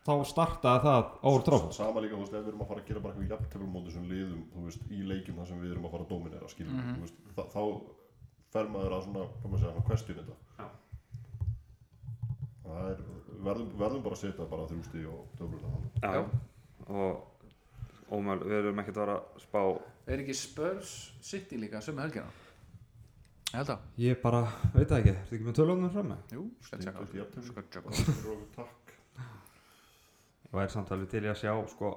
þá startaði það áur tráfum
sama líka, þú veist, ef við erum að fara að gera bara eitthvað jafntöflumóti sem liðum, þú veist, í leikjum þar sem við erum að fara að dominera, skiljum mm
Mhm.
-hmm. veist, þá, þá fer maður að svona, hvað maður segja, hann question þetta
Já.
það er, verðum, verðum bara að setja bara þrjústi og döfluna þannig
Já.
og ómöl, við erum ekkert að vera að spá
Er ekki Spurs City líka Summi helgina Ég held að
ég bara veit það ekki, er þetta ekki með tölunum fram með
Jú, skal
Stingur
tjekka á
upp í jafntefli.
þessu. Skal tjekka á þessu.
Takk fyrir og takk
og er samtalið til ég að sjá sko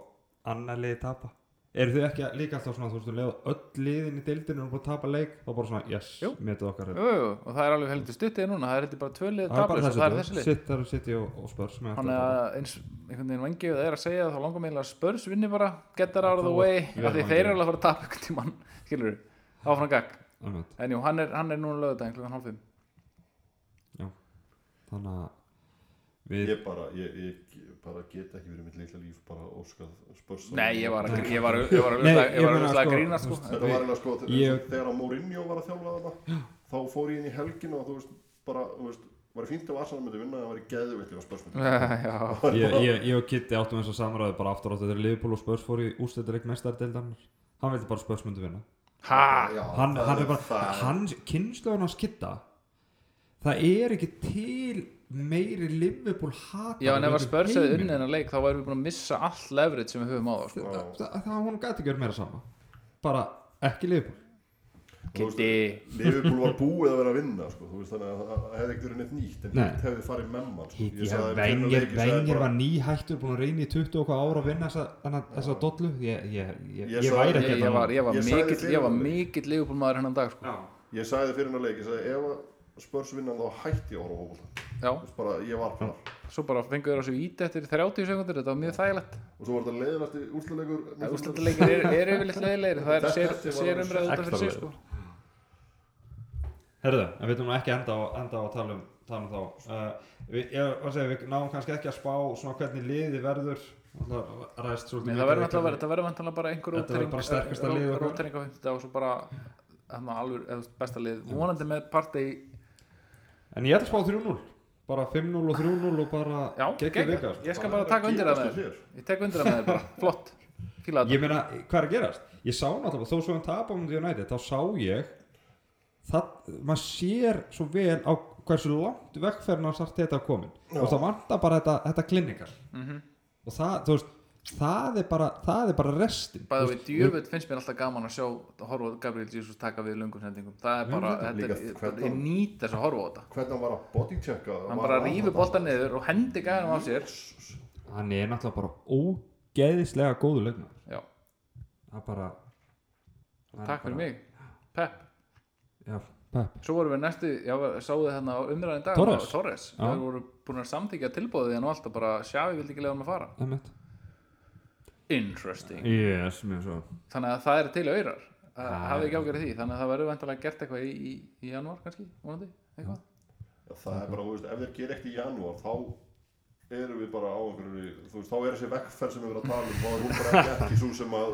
annar liði tapa eru þau ekki líka alltaf svona þú veist þú leið öll liðin í deildinu og búin að tapa leik þá bara svona yes,
Jú.
metið okkar
Jú, jú, og það er alveg heldur stuttið núna Það er heldur bara tvölið
það er bara
tablið og
þessi
sko. það er
tvö.
þessi lið
Sitt- það eru City og, og Spurs sem eiga eftir
Þannig
að
að eins einhvern veginn vengið það er að segja þá langar mig eiginlega að spörs vinni bara get that out of the
Þá-
way
já,
af því
vangir.
þeir eru alveg að fara að tapa einhvern tímann skilur þú áfram gag
tapa. Einmitt.
en jú hann er, hann er núna lögðardaginn klukkan hálf fimm
þannig að við
ég bara, ég, ég bara get ekki verið mitt litla líf bara óskað spörsam
Nei ég var að grí- ég var að- ég var að
Nei,
auðvitað-
ég
ég var að
meina,
auðvitað að
sko,
grína
þú
sko
veist,
Þetta var eiginlega sko, þegar-
Ég-
þegar að Mourinho var að þjálfa þetta þá fór ég inn í helginu og þú veist, bara, þú veist, var fínt ef Arsenal myndi vinna en það var í geðveitt ef Spurs myndi vinna.
Já
ég, ég, ég og Kitty áttum eins og samræði bara aftur áttu þegar Liverpool og Spurs fór í ústættileik mestardeildarnar hann vildi bara Spurs myndi vinna
Ha
Já,
hann,
það
hann er bara,
það er-
hans, kynnslöðun hans Kitta það er ekki til meiri Liverpool hata
Já en ef að spörs hefði unnið hennar leik þá værum við búin að missa all leverage sem við höfum á það sko
það, það, það hún gæti ekki verið meira sama bara ekki Liverpool
Þú veist,
Kitti
Liverpool var búið að vera að vinna sko, þú veist, þannig að það það hefði ekkert verið neitt nýtt en
Nei.
hitt hefði farið með mann sko.
Hitt,
Ég
ég
sagði
hef
við fyrir
vengir,
leik, ég sagði
vengir
bara-
var nýhættur búin að reyna í 20 og hvað ára að vinna þessa, þennan- þessa dollu ég, ég, ég,
Ég
ég
sagði-
væri
Ég,
ekki um
ég var, ég var
Ég sagði
mikill,
fyrir
ég var
hann.
mikill leifupólmaður hennan dag sko.
ég sagði fyrir hennar leik ég sagði ef að spörs vinna þá hætti ég ára hópa
Já,
bara ég var bara
svo bara fengur þér á svo íti eftir 30 sekundir, þetta var mjög þægilegt
og svo var þetta leiðinast í úrslutleikur
Úrslutaleikin er, er yfirleitt leiðilegir Það er sér,
Þetta var
sér umræð út af fyrir sig sko.
Herðu, en við erum nú ekki enda á, enda á að tala um, tala um þá uh, við, Ég var að segja, við náum kannski ekki að spá svona hvernig liði verður Náttúrulega ræðist svolítið
Nei,
mikið
það verður
við
náttúrulega
hvernig-
verið, það verður náttúrulega bara einhver
Þetta verður bara sterkasta lið okkar.
Rótering á 50 og svo bara þarna alveg eða þú veist, besta lið Vonandi með partei
En ég ætla að spá 3-0 Bara 5-0 og 3-0 og bara
Já,
geggjum
geggjað.
vika sko.
Ég skal bara taka undir það með þér Ég tek undir það með þér bara, flott Fíla
Ég
þetta
meina, hvað er að gerast? Ég sá náttúrulega, þó svo hann tapa um United Þá sá ég það, Maður sér svo vel á hversu langt vegferðin að sart þetta komin
Já.
Og það vantar bara þetta, þetta klinikar
Mhm.
Og það, þú veist Það er bara, það er bara restin
Bæða við djöfitt finnst mér alltaf gaman að sjá að horfa á Gabriel Jesus taka við löngum sendingum Það er
Við
bara,
erum
þetta,
líka
er,
hvernig-
ég nýt þess að horfa á þetta
hvernig hann var að bodychecka
Hann bara rýfur boltan niður og hendi gæðan á sér
hann er náttúrulega bara ógeðislega góðu leikmaður
Já,
það er bara
takk fyrir mig Pep
já, Pep
Svo vorum við næstu, já, sáðu þarna á umræðin dag
Torres.
Torres.
Já.
Við vorum búin að samþykja tilbóðið hann og alltaf bara Sjafi vildi ekki leiða hann að fara
Emmett
Interesting
Yes, mjög svo
Þannig að það er til auðrar
Já,
Hafið ekki
já.
ágjörði því Þannig að það verður vantilega gert eitthvað í, í, í janúar kannski vonandi, eitthvað
Já, það
Mhm.
er bara, þú veist, ef þeir gera ekkert í janúar þá erum við bara á einhverju þú veist, þá er þessi vekkferð sem við erum að tala um þá er hún bara ekki ekki svo sem að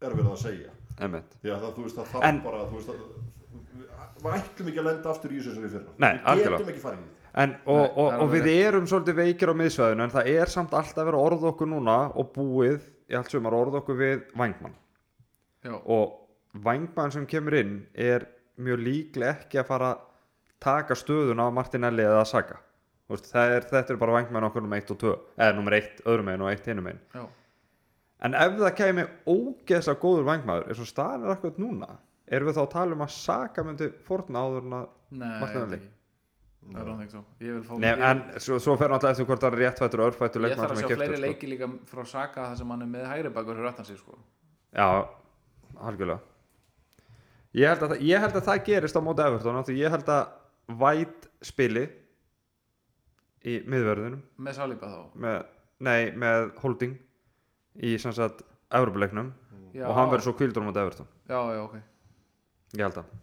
er verið að segja
Emmett
Já, það, þú veist, það þarf
En-
bara, þú veist, að við ætlum ekki að lenda aftur í þessu sem við fyrra
Nei,
Við
algjörlega.
getum ekki farið í þetta
En, og,
Nei, það
og,
er
og
alveg
við erum svolítið veikir á miðsvæðinu en það er samt alltaf verið orð okkur núna og búið í allt sumar orð okkur við Vængmann
Já,
og Vængmann sem kemur inn er mjög líklega ekki að fara að taka stöðuna á Martinelli eða Saga Þú veist, það er, þetta er bara Vængmann okkur nummer 1 og 2 eða nummer 1 öðrum einn og 1 hinum einn
já,
en ef það kemi ógeðslega góður Vængmaður eins og staðan er akkurat núna erum við þá að tala um að Saga myndi forna áður en að
nei
Martinelli.
Það er hann ekki svo Ég vil fá
Nei,
ég,
en svo, svo fer náttúrulega eftir hvort það er réttfættur og örfættur
ég þarf
leikmann
að
sem
sjá
er
fleiri
keftur sko.
leiki líka frá Saka þar sem hann er með hægri bakur fyrir aftan sig sko.
Já, algjörlega ég held, að, það- ég held að það gerist á móti Everton af því ég held að væt spili í miðverðunum
með Saliba þá
með, nei, með holding í sem sagt Evropuleiknum
já,
Mm. og hann verður svo kvildur á móti Everton
Já, já, ok
ég held að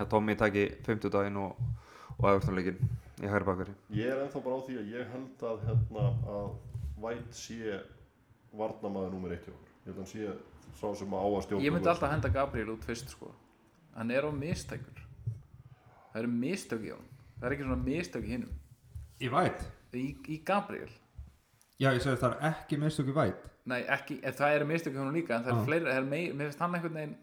að Tommy taki 50 daginn og, og Evertonleikin í hægri bakari
Ég er ennþá bara á því að ég held að hérna að White sé varnamaður númer eitt hjá okkur Ég held að hann sé sá sem á að stjórna
Ég myndi
okkur.
alltaf henda Gabriel út fyrst sko. Hann er á mistækur Það eru mistök í hann Það er ekki svona mistök í hinnum
Í væt?
Í, í Gabriel
Já, ég sagði það er ekki mistök í væt
Nei, ekki, en það eru mistök í honum líka En það
Ah.
eru fleiri, það eru meir, mér finnst hann einhvern veginn að-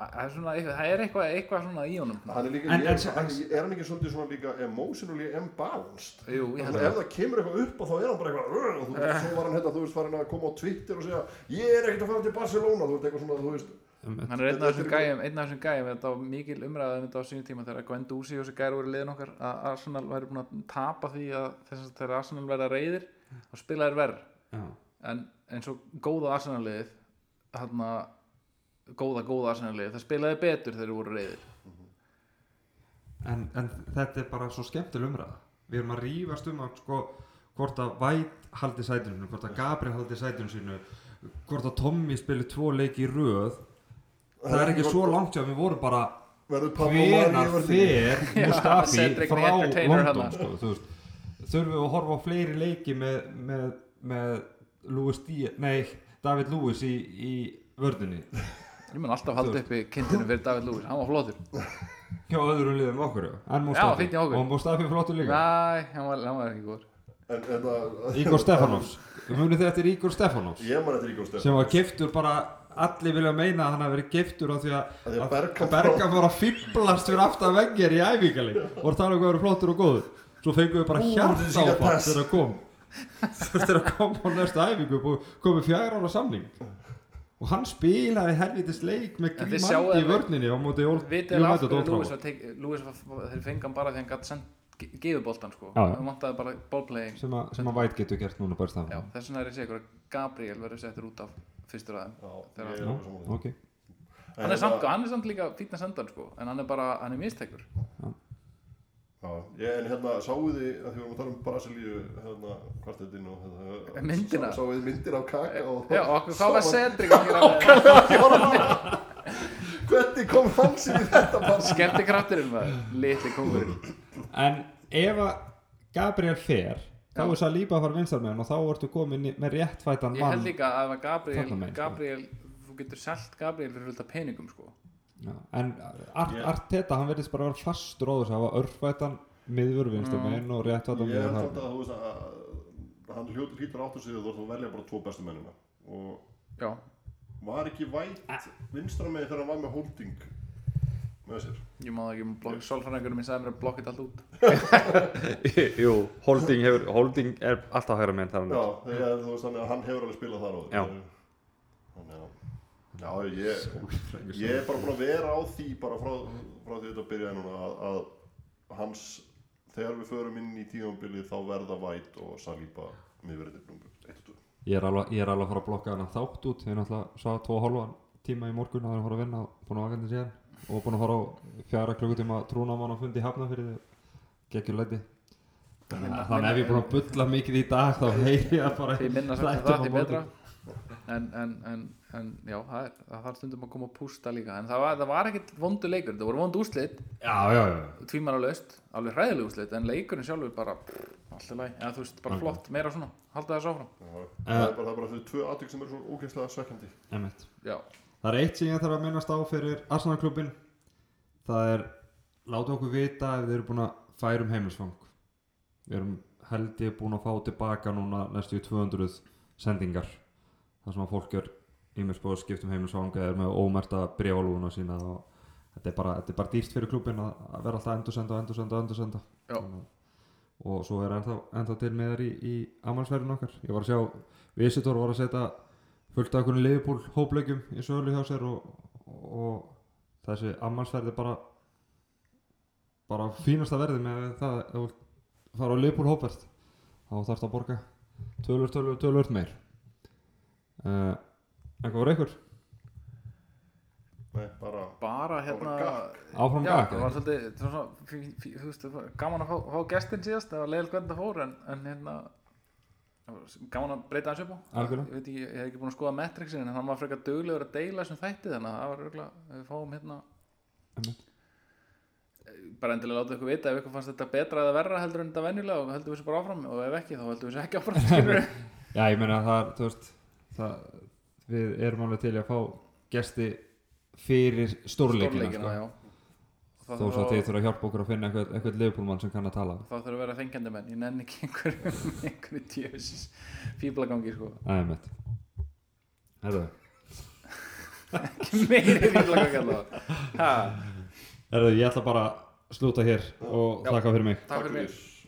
Það er, svona, eitthvað- það er eitthvað, eitthvað svona í honum
Hann er, líka,
En-
ég,
en-
hann, er hann ekki svolítið svona líka emotionally imbalanced
Jú, ég
Þannig
held
að ef
að
það kemur eitthvað upp og þá er hann bara eitthvað "Ugh", og þú veist, svo var hann hérna, þú veist, farin að koma á Twitter og segja ég er ekkert að fara til Barcelona, þú veist, eitthvað svona, þú veist
Emmett
Hann er einn af
Þetta
þessum
er-
gæjum, einn af þessum gæjum, þetta var mikil umræða um þetta á sínum tíma þegar Gwen Dúsi og þessi gæjar voru liðin okkar að Arsenal væri búin að tapa því að þess að þegar Arsenal verða reyðir þá spila þær verð
Já,
en eins og góða arsenaliðið þarna góða góða arsenaliðið, það spilaði betur þegar þeir voru reyðir
en, en þetta er bara svo skemmtileg umræða við erum að rífast um að sko hvort að Væt haldi sætinu sínu hvort að Gabriel haldi sætinu sínu hvort að Tommy spili tvo leiki í röð það er ekki svo langt hjá við vorum bara
verður Pablo Mari
hvenar fer
Já,
Mustafi
Cedric the
frá
Entertainer
London
þarna.
sko, þú veist, þurfum við að horfa á fleiri leiki með, með, með Lewis D, nei, David Lewis í, í vörðinni
ég mun alltaf halda uppi kindinu fyrir David Lewis hann var flottur,
hjá öðrum liðum okkur já. en Mustafi,
fínn hjá okkur.
og Mustafi flottur líka
næ, hann var, hann var ekki góður
En þetta
Ígor Stefanovs, munið þetta er Ígor Stefanovs
Ég man þetta líka á stefn
sem var giftur bara allir vilja meina að hann hafi verið giftur á því að
Af því að Bergkamp-
að Berga var að fýblast fyrir aftan vengir í æfingali og það er eitthvað verið flottur og góður svo fengum við bara
Ú,
hjarta á
þetta er
það
pass.
þegar það kom þegar það kom á næstu æfingu og komið fjara ára samning og hann spilaði helvitis leik með
En þið
grímandi í
sjáið alveg-
vörninni á móti Old-
vitið alveg af
United
hverju
Old
Lewis
Trafford
var tek- Lewis var- þeir fengi hann bara því hann gæti send gefuboltan sko,
Já, já.
hann vantaði bara ballplaying
sem, að- sem að væt getur gert núna bara
Já,
stafan
þess vegna er ég að segja ykkur að Gabriel verður settur út af fyrstur aðeim
Já, ég
Þegar-
er alveg saman
ok
hann er
uh,
samt, sko, hann er samt líka fínna sendan sko, en hann er bara, hann er mistækur
Já, ég, en hérna sáuði að því við vorum að tala um Brasilíu hérna kvartetinn og hérna,
Myndina.
sá- sáuði myndir af kaka og
já, og hvað var
Sá-
Cedric að gera með
hvernig kom hann sér í þetta bara
skemmti krafturinn maður, litli kongurinn
En ef að Gabriel fer þá
Já.
er Saliba að fara vinstar með hann og þá ertu komin í- með réttfætan
Ég held
mann
líka að ef að Gabriel,
Þarna megin, sko.
Gabriel þú getur selt Gabriel fyrir hluta peningum sko.
Já, En Ar
Ég-
Arteta, hann verðist bara að vera fastur á þessu að hafa örfætan miður
Mm.
vinstar með hann og réttfætan
Ég
miður
held
hann
samt að þú veist að hann hljótur hýttur áttur sig og þú ert að velja bara tvo bestu mennina og
Já,
var ekki vætt vinstra með þegar hann var með holding með sér
ég má það ekki, blokk, sólfræðingunum minn sagði mér að blokkið allt út
Jú, holding, hefur, holding er alltaf hægra með
Já,
þannig
þegar, þú veist þannig að hann hefur alveg spilað þar á
Já.
Þannig að Já, ég, ég er bara búin að vera á því bara frá, frá því þetta byrjaði núna að, að hans, þegar við förum inn í tíðanbilið þá verða væt og salípa miðverðið nummer 1 og 2
ég er, alveg, ég er alveg að fara að blokka hann þátt út þegar náttúrulega sá tvo og hálfa tíma í morgun að hann fór að vinna og búin að vakandi síðan og búin að fara á fjara klukkutíma trúnamann og fundi hafna fyrir þau geggjuleiti þannig
Minna-
að þannig ef ég er búin að bulla mikið í dag þá heyri ég að bara
því minna sem
Þættum
þetta
á
því
morgun.
betra en, en, en, en já, það, er, það þarf stundum að koma að pústa líka en það var, það var ekkit vondu leikur það voru vondu úrslit,
já, já, já,
tvímanalaust alveg hræðileg úrslit, en leikurinn sjálfur bara alltaf læg, eða þú veist, bara
Mhm.
flott meira svona, halda þess áfram
það
Eh,
er bara, það er bara þau tvö aðtök sem eru svo ógeðslega svekkjandi
emitt
já,
það er eitt sem ég þarf að minnast á fyrir Arsenal klubin það er láta okkur vita ef þið eru búin að færa um heimilsfang við erum held ég búin að fá tilbaka núna næstu í 200 sendingar þar sem að fólk er ímjörsbúið að skipta um heimilsfang eða er með ómerta brefalúna sína og þetta er bara, þetta er bara dýrt fyrir klubin að, að vera alltaf að endursenda og endursenda og endursenda
Já.
Þannig að- og svo er ennþá, ennþá til með þær í, í amalsverðin okkar ég var að sjá Visitor var að setja fullt af einhvern liðbúl hópleikjum í sölu hjá sér og, og þessi ammarsverð er bara bara fínasta verði með það ef þú fara á liðbúl hópverð þá þarfst að borga tölvöld, tölvöld, tölvöld meir uh, eitthvað voru ykkur
nei, bara
bara hérna
gakk.
áfram
já,
gag
það var svolítið það var svona, fí, fí, þú veist, það var gaman að fá, fá gestin síðast það var leiðilegt hvernig það fór, en, en hérna það var gaman að breyta hans upp á
Algjörlega.
ég veit ekki, ég hef ekki búin að skoða metriksin en hann var frekar duglegur að deila þessum þætti þannig að það var örgulega, við fáum hérna eh,
Einmitt.
bara endilega láta ykkur vita ef ykkur fannst þetta betra eða verra heldur en þetta venjulega og heldur við þessu bara áfram og ef ekki þá heldur við þessu ekki áfram skilurðu.
já, ég meina það er, þú veist það, við erum alveg til í að fá gesti fyrir stórleikina
Stórleikina,
sko.
já. Og það
þó
þarf
svo að
að-
þið þurfa að hjálpa okkur að finna eitthvað, eitthvað liðbúlmann sem kann að tala
þá þurfum að vera þengjandi menn, ég nenni ekki einhverju einhverju tjöfis fíblagangi sko,
aðeins mitt herðu
ekki meiri fíblagangi allavega Ha,
Herðu, ég ætla bara að slúta hér og
Já.
þakka fyrir mig.
takk fyrir mig
fyrir.